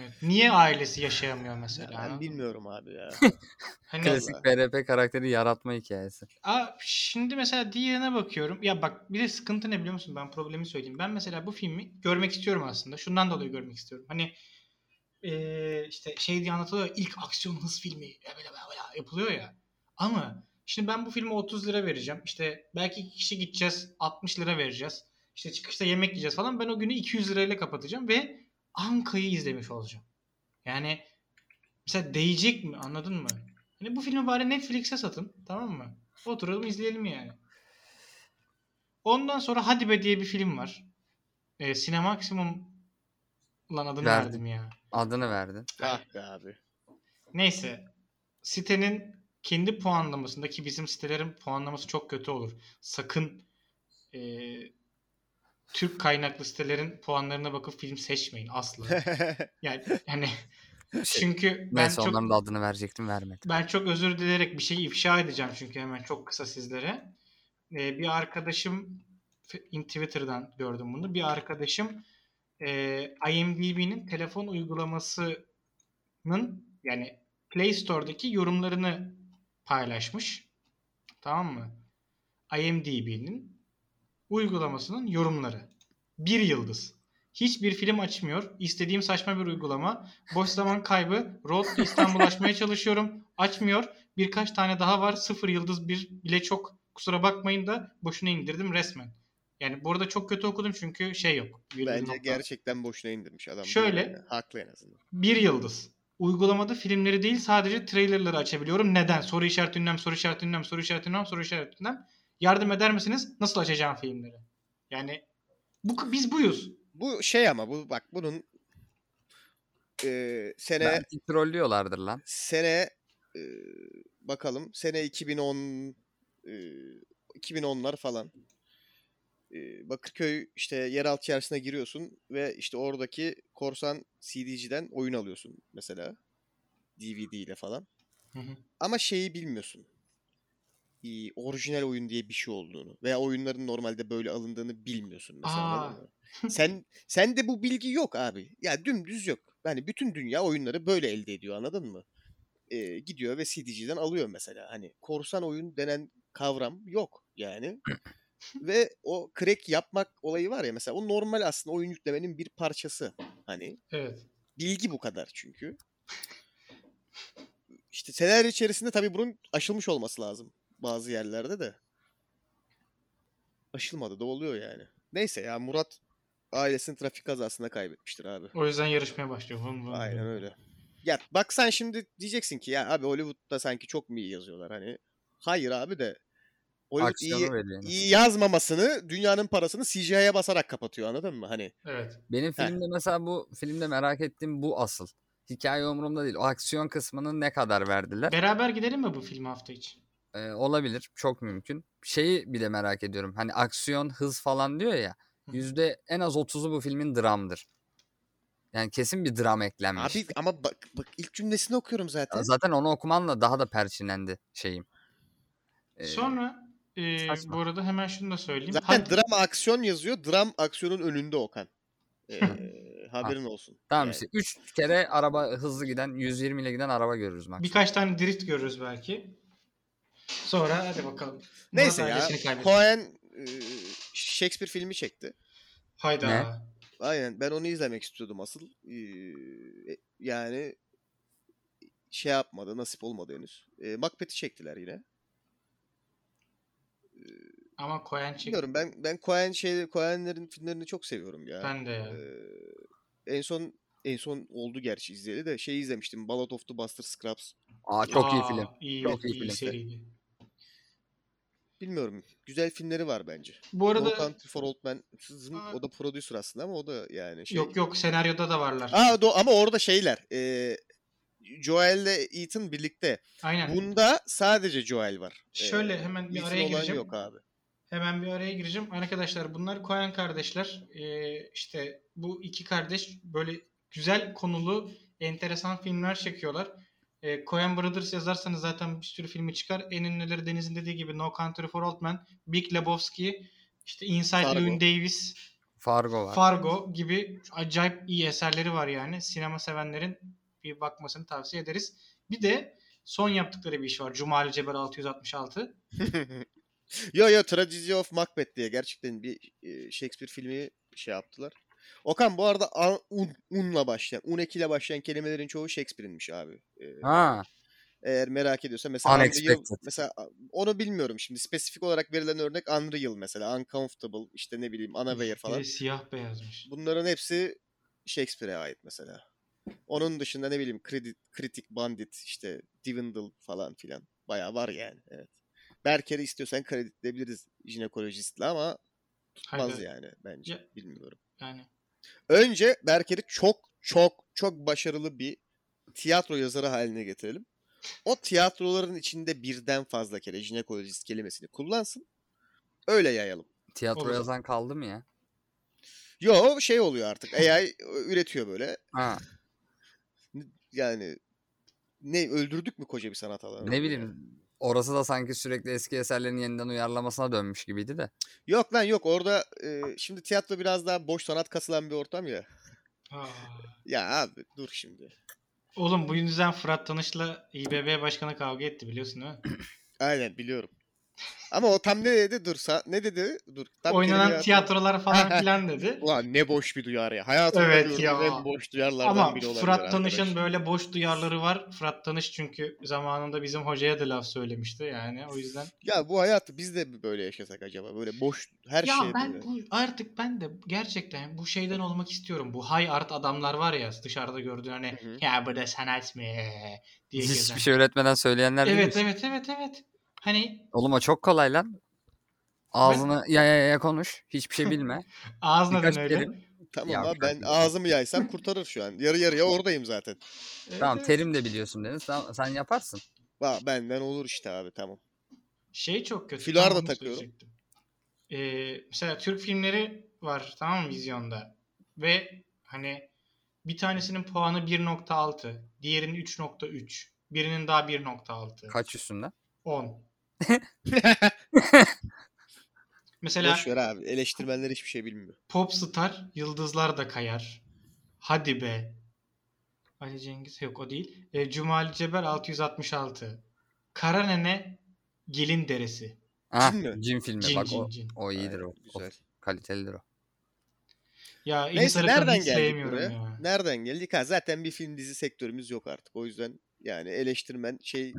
Evet. Niye ailesi yaşayamıyor mesela? Ben anladın mı? bilmiyorum abi [LAUGHS] ya. Hani klasik BRP karakteri yaratma hikayesi. Aa, şimdi mesela diğerine bakıyorum. Ya bak bir de sıkıntı ne biliyor musun? Ben problemi söyleyeyim. Ben mesela bu filmi görmek istiyorum aslında. Şundan dolayı görmek istiyorum. Hani eee, işte şey diye anlatılıyor. ya, ilk aksiyon hız filmi ya böyle böyle böyle yapılıyor ya. Ama şimdi ben bu filme 30 lira vereceğim. İşte belki iki kişi gideceğiz. 60 lira vereceğiz. İşte çıkışta yemek yiyeceğiz falan. Ben o günü 200 lirayla kapatacağım ve Anka'yı izlemiş olacağım. Yani mesela değecek mi anladın mı? Hani bu filmi bari Netflix'e satın tamam mı? Oturalım izleyelim yani. Ondan sonra Hadi Be diye bir film var. E, Sinemaksimum lan adını Verdim. verdim ya. Adını verdin. ah be abi. Neyse. Sitenin kendi puanlamasında ki bizim sitelerin puanlaması çok kötü olur. Sakın e, Türk kaynaklı sitelerin puanlarına bakıp film seçmeyin asla. Yani hani çünkü ben Neyse çok onların da adını verecektim vermedim. ben çok özür dileyerek bir şey ifşa edeceğim çünkü hemen çok kısa sizlere. Ee, bir arkadaşım f- in Twitter'dan gördüm bunu. Bir arkadaşım e, IMDb'nin telefon uygulamasının yani Play Store'daki yorumlarını paylaşmış. Tamam mı? IMDb'nin uygulamasının yorumları. Bir yıldız. Hiçbir film açmıyor. İstediğim saçma bir uygulama. Boş zaman kaybı. Road to İstanbul açmaya çalışıyorum. Açmıyor. Birkaç tane daha var. Sıfır yıldız bir bile çok. Kusura bakmayın da boşuna indirdim resmen. Yani bu arada çok kötü okudum çünkü şey yok. Virgül [LAUGHS] Bence nokta. gerçekten boşuna indirmiş adam. Şöyle. Yani Haklı en azından. Bir yıldız. Uygulamada filmleri değil sadece trailerları açabiliyorum. Neden? Soru işareti ünlem, soru işareti ünlem, soru işareti ünlem, soru işareti ünlem. Yardım eder misiniz? Nasıl açacağım filmleri? Yani bu, biz buyuz. Bu şey ama bu bak bunun e, sene Belki trollüyorlardır lan. sene e, bakalım sene 2010 e, 2010'lar falan. E, Bakırköy işte yeraltı çarşısına giriyorsun ve işte oradaki korsan CD'ciden oyun alıyorsun mesela DVD ile falan. Hı hı. Ama şeyi bilmiyorsun. E, orijinal oyun diye bir şey olduğunu veya oyunların normalde böyle alındığını bilmiyorsun mesela. anladın Aa. mı? Sen sen de bu bilgi yok abi. Ya dümdüz yok. Yani bütün dünya oyunları böyle elde ediyor anladın mı? e, gidiyor ve CD'ciden alıyor mesela. Hani korsan oyun denen kavram yok yani. ve o crack yapmak olayı var ya mesela o normal aslında oyun yüklemenin bir parçası. Hani Evet. bilgi bu kadar çünkü. İşte senaryo içerisinde tabii bunun aşılmış olması lazım bazı yerlerde de. Aşılmadı da oluyor yani. Neyse ya Murat ailesini trafik kazasında kaybetmiştir abi. O yüzden yarışmaya başlıyor. Vın vın Aynen vın. öyle. Ya bak sen şimdi diyeceksin ki ya abi Hollywood'da sanki çok mu iyi yazıyorlar hani. Hayır abi de Hollywood iyi, Aksiyonu veriyor. iyi yazmamasını dünyanın parasını CGI'ye basarak kapatıyor anladın mı? Hani Evet. Benim filmde mesela bu filmde merak ettiğim bu asıl. Hikaye umurumda değil. O aksiyon kısmının ne kadar verdiler? Beraber gidelim mi bu filmi hafta için? Ee, olabilir. Çok mümkün. Şeyi bile merak ediyorum. Hani aksiyon, hız falan diyor ya. Hı. Yüzde en az 30'u bu filmin dramdır. Yani kesin bir dram eklenmiş. Abi ama bak bak ilk cümlesini okuyorum zaten. Ya Zaten onu okumanla daha da perçinlendi şeyim. Ee, Sonra e, saçma. bu arada hemen şunu da söyleyeyim. Zaten Hadi- dram aksiyon yazıyor. Dram aksiyonun önünde Okan. Ee, [LAUGHS] haberin olsun. Tamam Yani. şey- işte 3 kere araba hızlı giden 120 ile giden araba görürüz max. Birkaç tane drift görürüz belki. Sonra hadi bakalım. Neyse Murat ya. ailesini kaybettik. Cohen e, Shakespeare filmi çekti. Hayda. Ne? Aynen ben onu izlemek istiyordum asıl. Ee, e, yani şey yapmadı nasip olmadı henüz. Ee, Macbeth'i çektiler yine. Ama Koyan çek. Bilmiyorum ben ben Cohen şey Cohen'lerin filmlerini çok seviyorum ya. Ben de ya. Ee, en son en son oldu gerçi izleyeli de şey izlemiştim. Ballad of the Buster Scruggs. Aa çok iyi Aa, film. iyi, Çok iyi iyi, film. seriydi. Bilmiyorum. Güzel filmleri var bence. Bu Arada... No arada Country for Old Men. Zın- Aa. O da prodüser aslında ama o da yani şey. yok yok senaryoda da varlar. Aa, do- ama orada şeyler. E, Joel ile Ethan birlikte. Aynen. Bunda sadece Joel var. Ee, Şöyle hemen bir Ethan araya olan gireceğim. yok abi. Hemen bir araya gireceğim. Arkadaşlar bunlar Koyan kardeşler. Ee, işte bu iki kardeş böyle güzel konulu enteresan filmler çekiyorlar. Ee, Koyan Brothers yazarsanız zaten bir sürü filmi çıkar. En ünlüleri Deniz'in dediği gibi No Country for Old Men, Big Lebowski, işte Inside Fargo. Llewyn Davis, Fargo var. Fargo gibi acayip iyi eserleri var yani. Sinema sevenlerin bir bakmasını tavsiye ederiz. Bir de son yaptıkları bir iş var. Cumali Cebel 666. Yo yo Tragedy of Macbeth diye gerçekten bir e, Shakespeare filmi şey yaptılar. Okan bu arada a- un, unla başlayan, un ekiyle başlayan kelimelerin çoğu Shakespeare'inmiş abi. Ee, Ha. eğer merak ediyorsa mesela Unexpected. Unreal, mesela onu bilmiyorum şimdi spesifik olarak verilen örnek Unreal mesela Uncomfortable işte ne bileyim Unaware Bir falan. de siyah beyazmış. Bunların hepsi Shakespeare'e ait mesela. Onun dışında ne bileyim Credi- Critic Bandit işte Divindle falan filan bayağı var yani. Evet. Berker'i istiyorsan kreditleyebiliriz jinekolojistle ama Hayda. tutmaz yani bence. Ya- Bilmiyorum. Yani Önce Berker'i çok çok çok başarılı bir tiyatro yazarı haline getirelim. O tiyatroların içinde birden fazla kere jinekolojist kelimesini kullansın. Öyle yayalım. Tiyatro Olur. yazan kaldı mı ya? Yo şey oluyor artık. AI üretiyor böyle. [LAUGHS] Ha. Yani ne öldürdük mü koca bir sanat alanı? Ne bileyim. Orası da sanki sürekli eski eserlerin yeniden uyarlamasına dönmüş gibiydi de. Yok lan yok orada e, şimdi tiyatro biraz daha boş sanat kasılan bir ortam ya. Aa. Ya abi dur şimdi. Oğlum bu yüzden Fırat Tanış'la İBB Başkanı kavga etti biliyorsun değil mi? Aynen biliyorum. Ama o tam ne dedi? Dur sa- ne dedi? Dur. Tam Oynanan kelimeyi hatırlamıyorum. [LAUGHS] tiyatrolar falan filan dedi. Ulan ne boş bir duyar ya. Hayatımda Evet gördüğüm ya. en boş duyarlardan Ama biri olabilir. Fırat Tanış'ın arkadaş. böyle boş duyarları var. Fırat Tanış çünkü zamanında bizim hocaya da laf söylemişti yani o yüzden. Ya bu hayatı biz de böyle yaşasak acaba? Böyle boş her ya şey. ben böyle. bu, artık ben de gerçekten bu şeyden olmak istiyorum. Bu high art adamlar var ya dışarıda gördüğün hani Hı hı. ya bu da sanat mı diye gezen. Hiçbir şey öğretmeden söyleyenler değil Evet mi? evet evet evet. Hani Oğlum o çok kolay lan. Ağzını ya ya ya konuş. Hiçbir şey [LAUGHS] bilme. ağzına Birkaç dön öyle. terim. Tamam Ya abi ben kanka. ağzımı yaysam kurtarır şu an. Yarı yarıya oradayım zaten. Evet, Tamam evet. terim de biliyorsun Deniz. Tamam, sen yaparsın. Va, benden olur işte abi tamam. Şey çok kötü. Filar tam da onu takıyorum. söyleyecektim. Ee, mesela Türk filmleri var tamam mı vizyonda. Ve hani bir tanesinin puanı 1.6. Diğerinin 3.3. Birinin daha 1.6. Kaç üstünden? 10. [LAUGHS] [LAUGHS] Mesela Boş ver abi. Eleştirmenler hiçbir şey bilmiyor. Popstar Yıldızlar da Kayar. Hadi be. Ali Cengiz yok o değil. E, Cumali Cebel 666. Kara Nene Gelin Deresi. Ha, Cin mi? Ah, cin filmi. Cin Bak cin o, cin. o iyidir o. Aynen, o. Güzel. Kalitelidir o. Ya Neyse İlk Sarıkan'ı nereden hiç geldik sevmiyorum buraya? ya. Nereden geldik? Ha zaten bir film dizi sektörümüz yok artık. O yüzden yani eleştirmen şey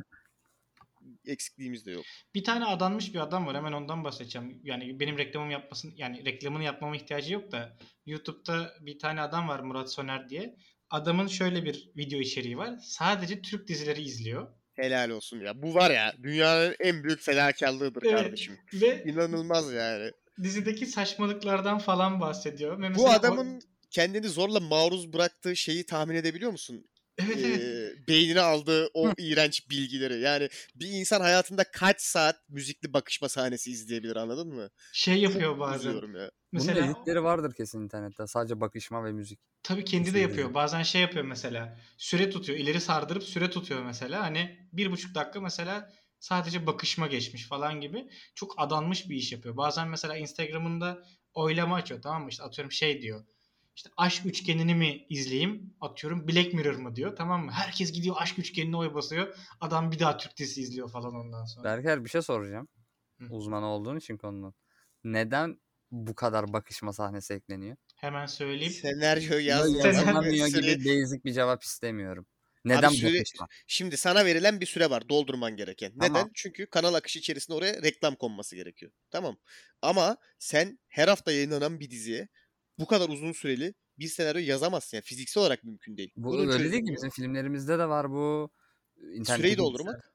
eksikliğimiz de yok. Bir tane adanmış bir adam var. Hemen ondan bahsedeceğim. Yani benim reklamımı yapmasın yani reklamını yapmama ihtiyacı yok da YouTube'da bir tane adam var Murat Soner diye. Adamın şöyle bir video içeriği var. Sadece Türk dizileri izliyor. Helal olsun ya. Bu var ya dünyanın en büyük fedakarlığıdır Evet. kardeşim. Ve İnanılmaz yani. dizideki saçmalıklardan falan bahsediyor. Bu Ve mesela o- adamın kendini zorla maruz bıraktığı şeyi tahmin edebiliyor musun? Evet evet. e, beynine aldığı o iğrenç bilgileri. Yani bir insan hayatında kaç saat müzikli bakışma sahnesi izleyebilir anladın mı? Şey yapıyor bazen. Üzülüyorum ya. Bunun da Mesela editleri vardır kesin internette. Sadece bakışma ve müzik. tabii kendi de Kesin yapıyor. yani. Bazen şey yapıyor mesela. Süre tutuyor. ileri sardırıp süre tutuyor mesela. Hani bir buçuk dakika mesela sadece bakışma geçmiş falan gibi. Çok adanmış bir iş yapıyor. Bazen mesela Instagram'ında oylama açıyor tamam mı? İşte atıyorum şey diyor. İşte aşk üçgenini mi izleyeyim? Atıyorum Black Mirror mı diyor. Tamam mı? Herkes gidiyor aşk üçgenine oy basıyor. Adam bir daha Türk dizisi izliyor falan ondan sonra. Berker bir şey soracağım. Hı. Uzman olduğun için konunun. Neden bu kadar bakışma sahnesi ekleniyor? Hemen söyleyeyim. Senaryo Böyle yazmıyor. Yazılamıyor Süre- gibi basic bir cevap istemiyorum. Neden süre- bakışma? Şimdi sana verilen bir süre var doldurman gereken. Tamam. Neden? Çünkü kanal akışı içerisinde oraya reklam konması gerekiyor. Tamam. Ama sen her hafta yayınlanan bir diziye bu kadar uzun süreli bir senaryo yazamazsın. Yani fiziksel olarak mümkün değil. Bu Bunun öyle değil ki çözümü- bizim filmlerimizde de var bu. İnternette Süreyi de doldurmak. güzel.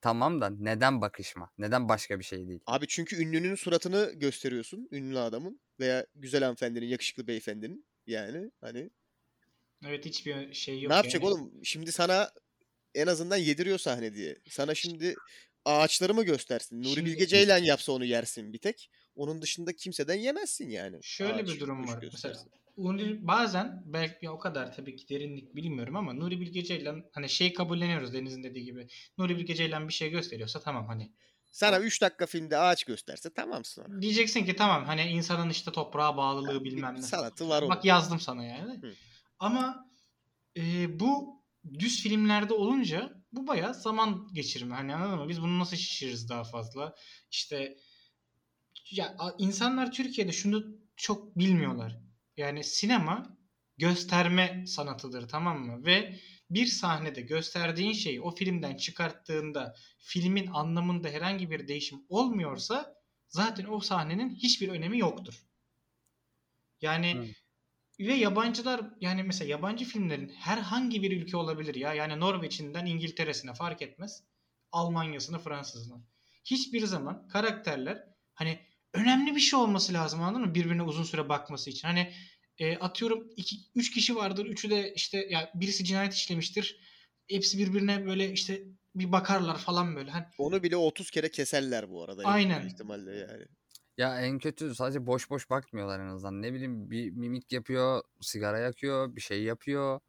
Tamam da neden bakışma? Neden başka bir şey değil? Abi çünkü ünlünün suratını gösteriyorsun. Ünlü adamın veya güzel hanımefendinin, yakışıklı beyefendinin. Yani hani Evet hiçbir şey yok. ne yapacak yani. oğlum? Şimdi sana en azından yediriyor sahne diye. Sana şimdi ağaçları mı göstersin? Nuri Şimdi- Bilge Ceylan yapsa onu yersin bir tek. Onun dışında kimseden yemezsin yani. Şöyle Ağaç, bir durum kuş var. Mesela göstersin. Nuri bazen belki ya o kadar tabii ki derinlik bilmiyorum ama Nuri Bilge Ceylan hani şey kabulleniyoruz Deniz'in dediği gibi. Nuri Bilge Ceylan bir şey gösteriyorsa tamam hani. Sana 3 dakika filmde ağaç gösterse tamamsın ona. Diyeceksin ki tamam hani insanın işte toprağa bağlılığı bilmem bir ne. sanatı var onun. Bak yazdım sana yani. Hı. Ama e, bu düz filmlerde olunca bu bayağı zaman geçirme. Hani anladın mı? Biz bunu nasıl şişiririz daha fazla? İşte ya a- insanlar Türkiye'de şunu çok bilmiyorlar. Yani sinema gösterme sanatıdır tamam mı? Ve bir sahnede gösterdiğin şeyi o filmden çıkarttığında filmin anlamında herhangi bir değişim olmuyorsa zaten o sahnenin hiçbir önemi yoktur. Yani Hı. ve yabancılar yani mesela yabancı filmlerin herhangi bir ülke olabilir ya. Yani Norveç'inden İngiltere'sine fark etmez. Almanya'sına, Fransız'ına. Hiçbir zaman karakterler hani önemli bir şey olması lazım anladın mı? Birbirine uzun süre bakması için. Hani e, atıyorum 3 kişi vardır. Üçü de işte ya birisi cinayet işlemiştir. Hepsi birbirine böyle işte bir bakarlar falan böyle. Hani Onu bile 30 kere keserler bu arada. en büyük Aynen. ihtimalle yani. Ya en kötü sadece boş boş bakmıyorlar en azından. Ne bileyim bir mimik yapıyor, sigara yakıyor, bir şey yapıyor.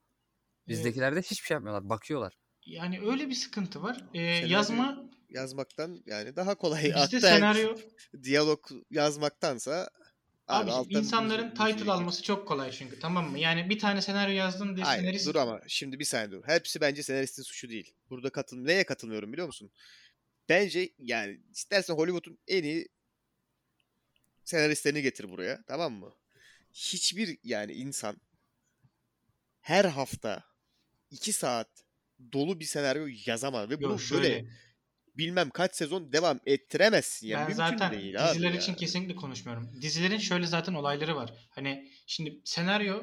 Bizdekilerde hiçbir şey yapmıyorlar. Bakıyorlar. yani öyle bir sıkıntı var. E, Senaryo- yazma Yazmaktan yani daha kolay. bizde Hatta senaryo Diyalog yazmaktansa Abi alttan müzik- insanların müziği title gir. alması çok kolay çünkü tamam mı? Yani bir tane senaryo yazdın diye Hayır senarist... dur ama şimdi bir saniye dur. Hepsi bence senaristin suçu değil. Burada katıl neye katılmıyorum biliyor musun? Bence yani istersen Hollywood'un en iyi senaristlerini getir buraya tamam mı? Hiçbir yani insan her hafta iki saat dolu bir senaryo yazamaz ve Yok, bunu şöyle. böyle bilmem kaç sezon devam ettiremezsin yani ben mümkün zaten değil abi. diziler ya. için kesinlikle konuşmuyorum. Dizilerin şöyle zaten olayları var. Hani şimdi senaryo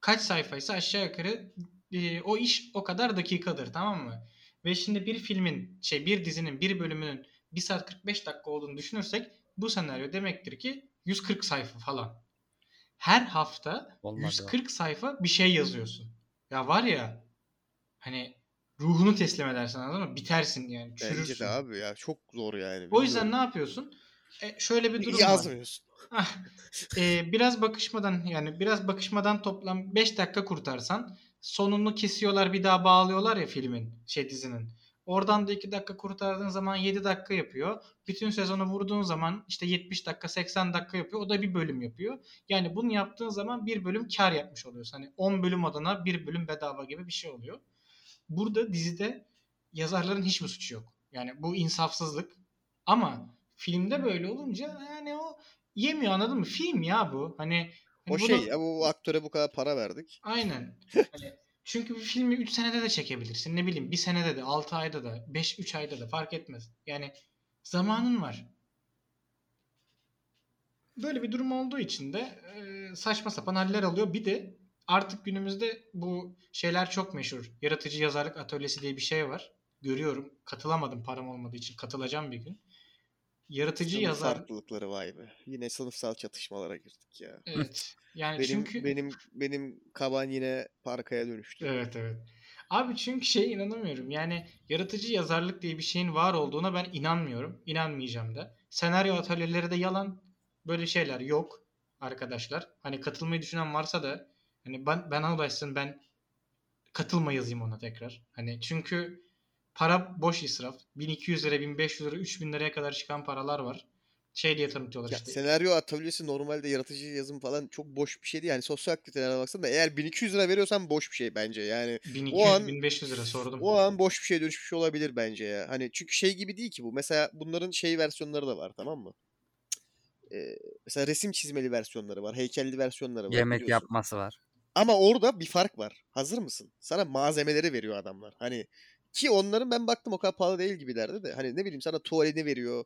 kaç sayfaysa aşağı yukarı e, o iş o kadar dakikadır tamam mı? Ve şimdi bir filmin şey bir dizinin bir bölümünün 1 saat 45 dakika olduğunu düşünürsek bu senaryo demektir ki 140 sayfa falan. Her hafta Olmaz ya. 140 sayfa bir şey yazıyorsun. Ya var ya hani ruhunu teslim edersen anladın mı? Bitersin yani. Çürürsün. Bence de abi ya çok zor yani. O yüzden bilmiyorum. ne yapıyorsun? E, şöyle bir durum var. yazmıyorsun. Hah. Ee, biraz bakışmadan yani biraz bakışmadan toplam 5 dakika kurtarsan sonunu kesiyorlar bir daha bağlıyorlar ya filmin şey dizinin. Oradan da 2 dakika kurtardığın zaman 7 dakika yapıyor. Bütün sezonu vurduğun zaman işte 70 dakika 80 dakika yapıyor. O da bir bölüm yapıyor. Yani bunu yaptığın zaman bir bölüm kar yapmış oluyorsun. Hani 10 bölüm adına bir bölüm bedava gibi bir şey oluyor. Burada dizide yazarların hiçbir suçu yok. Yani bu insafsızlık. Ama filmde böyle olunca yani o yemiyor anladın mı? Film ya bu. Hani, hani O bunu- şey ya bu aktöre bu kadar para verdik. Aynen. Hani çünkü bir filmi 3 senede de çekebilirsin. Ne bileyim bir senede de 6 ayda da 5 3 ayda da fark etmez. Yani zamanın var. Böyle bir durum olduğu için de e, saçma sapan haller alıyor. Bir de artık günümüzde bu şeyler çok meşhur. Yaratıcı yazarlık atölyesi diye bir şey var. Görüyorum. Katılamadım param olmadığı için. Katılacağım bir gün. Yaratıcı Sınıf yazar. farklılıkları vay be. Yine sınıfsal çatışmalara girdik ya. Evet. Yani Benim çünkü benim benim kaban yine parkaya dönüştü. Evet evet. Abi çünkü şeye inanamıyorum. Yani yaratıcı yazarlık diye bir şeyin var olduğuna ben inanmıyorum. İnanmayacağım da. Senaryo atölyeleri de yalan. Böyle şeyler yok arkadaşlar. Hani katılmayı düşünen varsa da hani ben ben ulaşsın ben katılma yazayım ona tekrar. Hani çünkü para boş israf. 1200 lira, 1500 lira, 3000 liraya kadar çıkan paralar var. Şey diye tanıtıyorlar Ya, işte. senaryo atölyesi normalde yaratıcı yazım falan çok boş bir şey değil. Yani sosyal aktivitelere baksan da eğer 1200 lira veriyorsan boş bir şey bence. Yani 1200 an- 1500 lira sordum. o an boş bir şeye dönüşmüş olabilir bence ya. Hani çünkü şey gibi değil ki bu. Mesela bunların şey versiyonları da var tamam mı? Ee, mesela resim çizmeli versiyonları var, heykelli versiyonları var. Yemek biliyorsun. yapması var. Ama orada bir fark var. Hazır mısın? Sana malzemeleri veriyor adamlar. Hani ki onların ben baktım o kadar pahalı değil gibilerdi de. Hani ne bileyim sana tuvalini veriyor.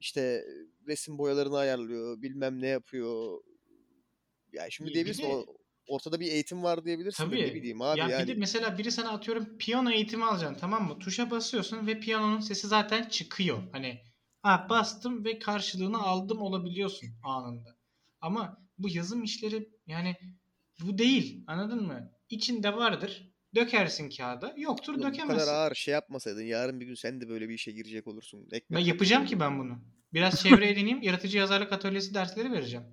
İşte resim boyalarını ayarlıyor. Bilmem ne yapıyor. Ya şimdi Bir- diyebilirsin bir de- o, ortada bir eğitim var diyebilirsin. de Tabii. Ne bileyim abi ya yani. bir de mesela biri sana atıyorum piyano eğitimi alacaksın tamam mı? Tuşa basıyorsun ve piyanonun sesi zaten çıkıyor. Hani ha bastım ve karşılığını aldım olabiliyorsun anında. Ama bu yazım işleri yani bu değil anladın mı? İçinde vardır dökersin kağıda yoktur Oğlum bu kadar dökemezsin. ağır şey yapmasaydın yarın bir gün sen de böyle bir işe girecek olursun. Ekmek Ben şey yapacağım ki ben bunu. Biraz çevre edineyim yaratıcı yazarlık atölyesi dersleri vereceğim.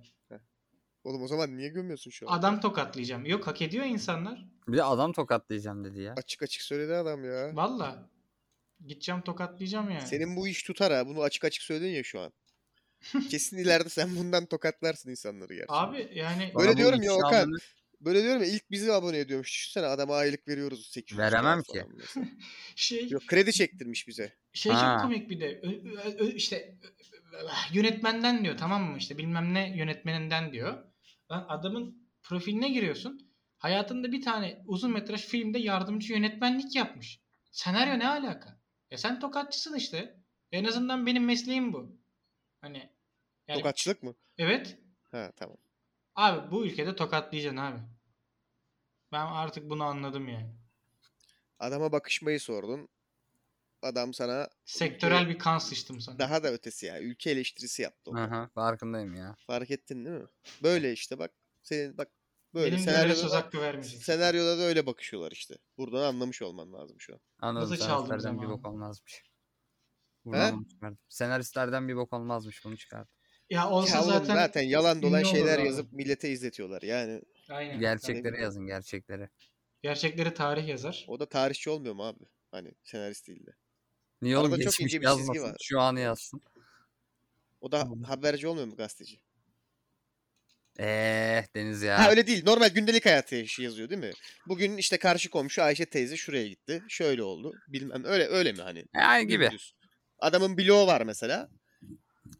Oğlum o zaman niye gömüyorsun şu an? Adam tokatlayacağım. Yok hak ediyor insanlar. Bir de adam tokatlayacağım dedi ya. Açık açık söyledi adam ya. Valla. Gideceğim tokatlayacağım yani. Senin bu iş tutar ha. Bunu açık açık söyledin ya [LAUGHS] şu an. Kesin ileride sen bundan tokatlarsın insanları gerçekten. Abi yani Bana Öyle bu diyorum ya Okan. ithamını- Böyle diyorum ya ilk bizi abone ediyormuş. Düşünsene adama aylık veriyoruz 800 lira falan Veremem ki. mesela. şey Yok kredi çektirmiş bize. Şey Ha. çok komik bir de ö- ö- ö- işte ö- ö- yönetmenden diyor tamam mı işte bilmem ne yönetmeninden diyor. Lan adamın profiline giriyorsun. Hayatında bir tane uzun metraj filmde yardımcı yönetmenlik yapmış. Senaryo ne alaka? Ya sen tokatçısın işte. En azından benim mesleğim bu. Hani yani Tokatçılık mı? evet Ha tamam. abi bu ülkede tokatlayacaksın abi. Ben artık bunu anladım yani. Adama bakışmayı sordun. Adam sana Sektörel bir kan sıçtım sana. daha da ötesi ya. Ülke eleştirisi yaptı. orada. Aha, farkındayım ya. Fark ettin değil mi? Böyle işte bak. Senin bak böyle Benim de öyle söz senaryoda, hakkı vermeyeceksin. senaryoda da öyle bakışıyorlar işte. Buradan anlamış olman lazım şu an. Anladım. Nasıl çaldın Senaristlerden bir zamanı? bok olmazmış. Buradan bunu çıkardım. Senaristlerden bir bok olmazmış bunu çıkardım. Ya olsa Ya oğlum zaten, zaten, yalan dolan ünlü olur şeyler abi. yazıp millete izletiyorlar. Yani Aynen. Gerçekleri bilmiyorum. yazın gerçekleri. Gerçekleri tarih yazar. o da tarihçi olmuyor mu abi? Hani senarist değil de. Niye oğlum Arada çok geçmiş ince bir çizgi yazmasın. var. Şu anı yazsın. O da Tamam. haberci olmuyor mu gazeteci? Eee Eh, Deniz ya. Ha [LAUGHS] öyle değil. Normal gündelik hayatı yaşı- yazıyor değil mi? Bugün işte karşı komşu Ayşe teyze şuraya gitti. Şöyle oldu. Bilmem öyle öyle mi hani? Yani gibi. Dümdüz. Adamın bloğu var mesela.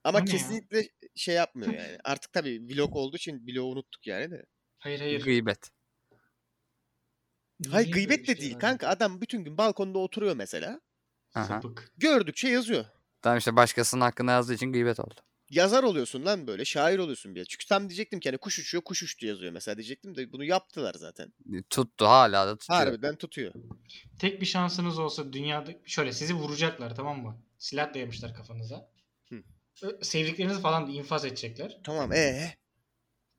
Ama O ne ya? kesinlikle şey yapmıyor yani. Artık tabii vlog olduğu için bloğu unuttuk yani de. Hayır hayır. Gıybet. Niye Hayır böyle gıybet bir de şey değil var? kanka. Adam bütün gün balkonda oturuyor mesela. Aha. Sapık. Gördükçe yazıyor. Tamam işte başkasının hakkında yazdığı için gıybet oldu. Yazar oluyorsun lan böyle. Şair oluyorsun bir. Çünkü tam diyecektim ki hani kuş uçuyor kuş uçtu yazıyor mesela diyecektim de bunu yaptılar zaten. E, Tuttu hala da tutuyor. Harbiden tutuyor. Tek bir şansınız olsa dünyada şöyle sizi vuracaklar tamam mı? Silah dayamışlar kafanıza. Hı. Ö- Sevdiklerinizi falan da infaz edecekler. Tamam ee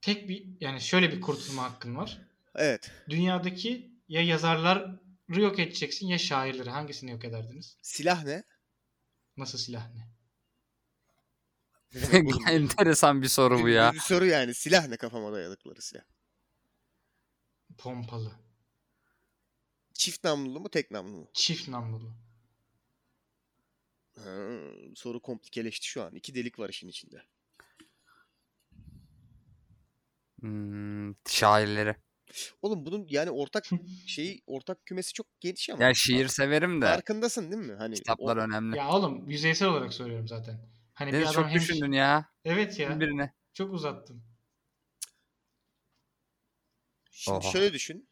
Tek bir yani şöyle bir kurtulma hakkın var. evet. Dünyadaki ya yazarları yok edeceksin ya şairleri. Hangisini yok ederdiniz? Silah ne? Nasıl silah ne? [LAUGHS] Ne demek oğlum? Enteresan bir soru bu ya. Bir soru yani silah ne kafama dayadıkları silah. Pompalı. Çift namlulu mu tek namlulu mu? Çift namlulu. Ha, soru komplikeleşti şu an. İki delik var işin içinde. Hmm, şairleri. Oğlum bunun yani [LAUGHS] ortak şeyi ortak kümesi çok geniş ama. Ya şiir severim de Farkındasın değil mi? Hani kitaplar o- önemli. Ya oğlum yüzeysel olarak soruyorum zaten. Hani bir Deniz adam çok hem... düşündün ya. Evet ya. Birine. Çok uzattım. Şimdi Oha. şöyle düşün.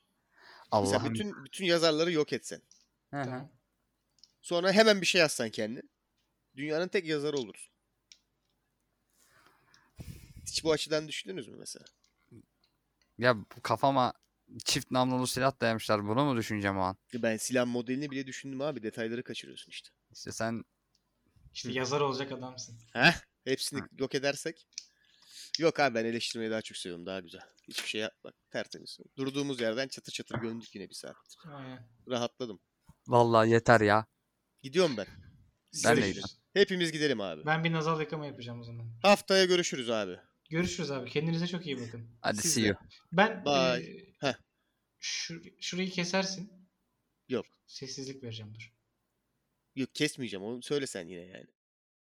Mesela Allah'ım. bütün bütün yazarları yok etsen. Hı hı. Tamam. Sonra hemen bir şey yazsan kendi. Dünyanın tek yazarı olursun. Hiç bu açıdan düşündünüz mü mesela? Ya kafama çift namlulu silah dayamışlar. Bunu mu düşüneceğim o an? Ben silah modelini bile düşündüm abi. Detayları kaçırıyorsun işte. İşte sen İşte yazar olacak adamsın. Hepsini yok edersek Yok abi ben eleştirmeyi daha çok seviyorum. Daha güzel. Hiçbir şey yapma. Tertemiz. Durduğumuz yerden çatır çatır gömdük yine bir saat. Aynen. Rahatladım. Vallahi yeter ya. Gidiyorum ben. Siz Ben de gidiyorsunuz. gidiyorum. Hepimiz gidelim abi. Ben bir nazal yıkama yapacağım o zaman. Haftaya görüşürüz abi. Görüşürüz abi. Kendinize çok iyi bakın. Hadi Siz see de. you. Ben Bye. eee, Heh. şur- şurayı kesersin. Yok. Sessizlik vereceğim dur. Yok kesmeyeceğim onu söylesen yine yani.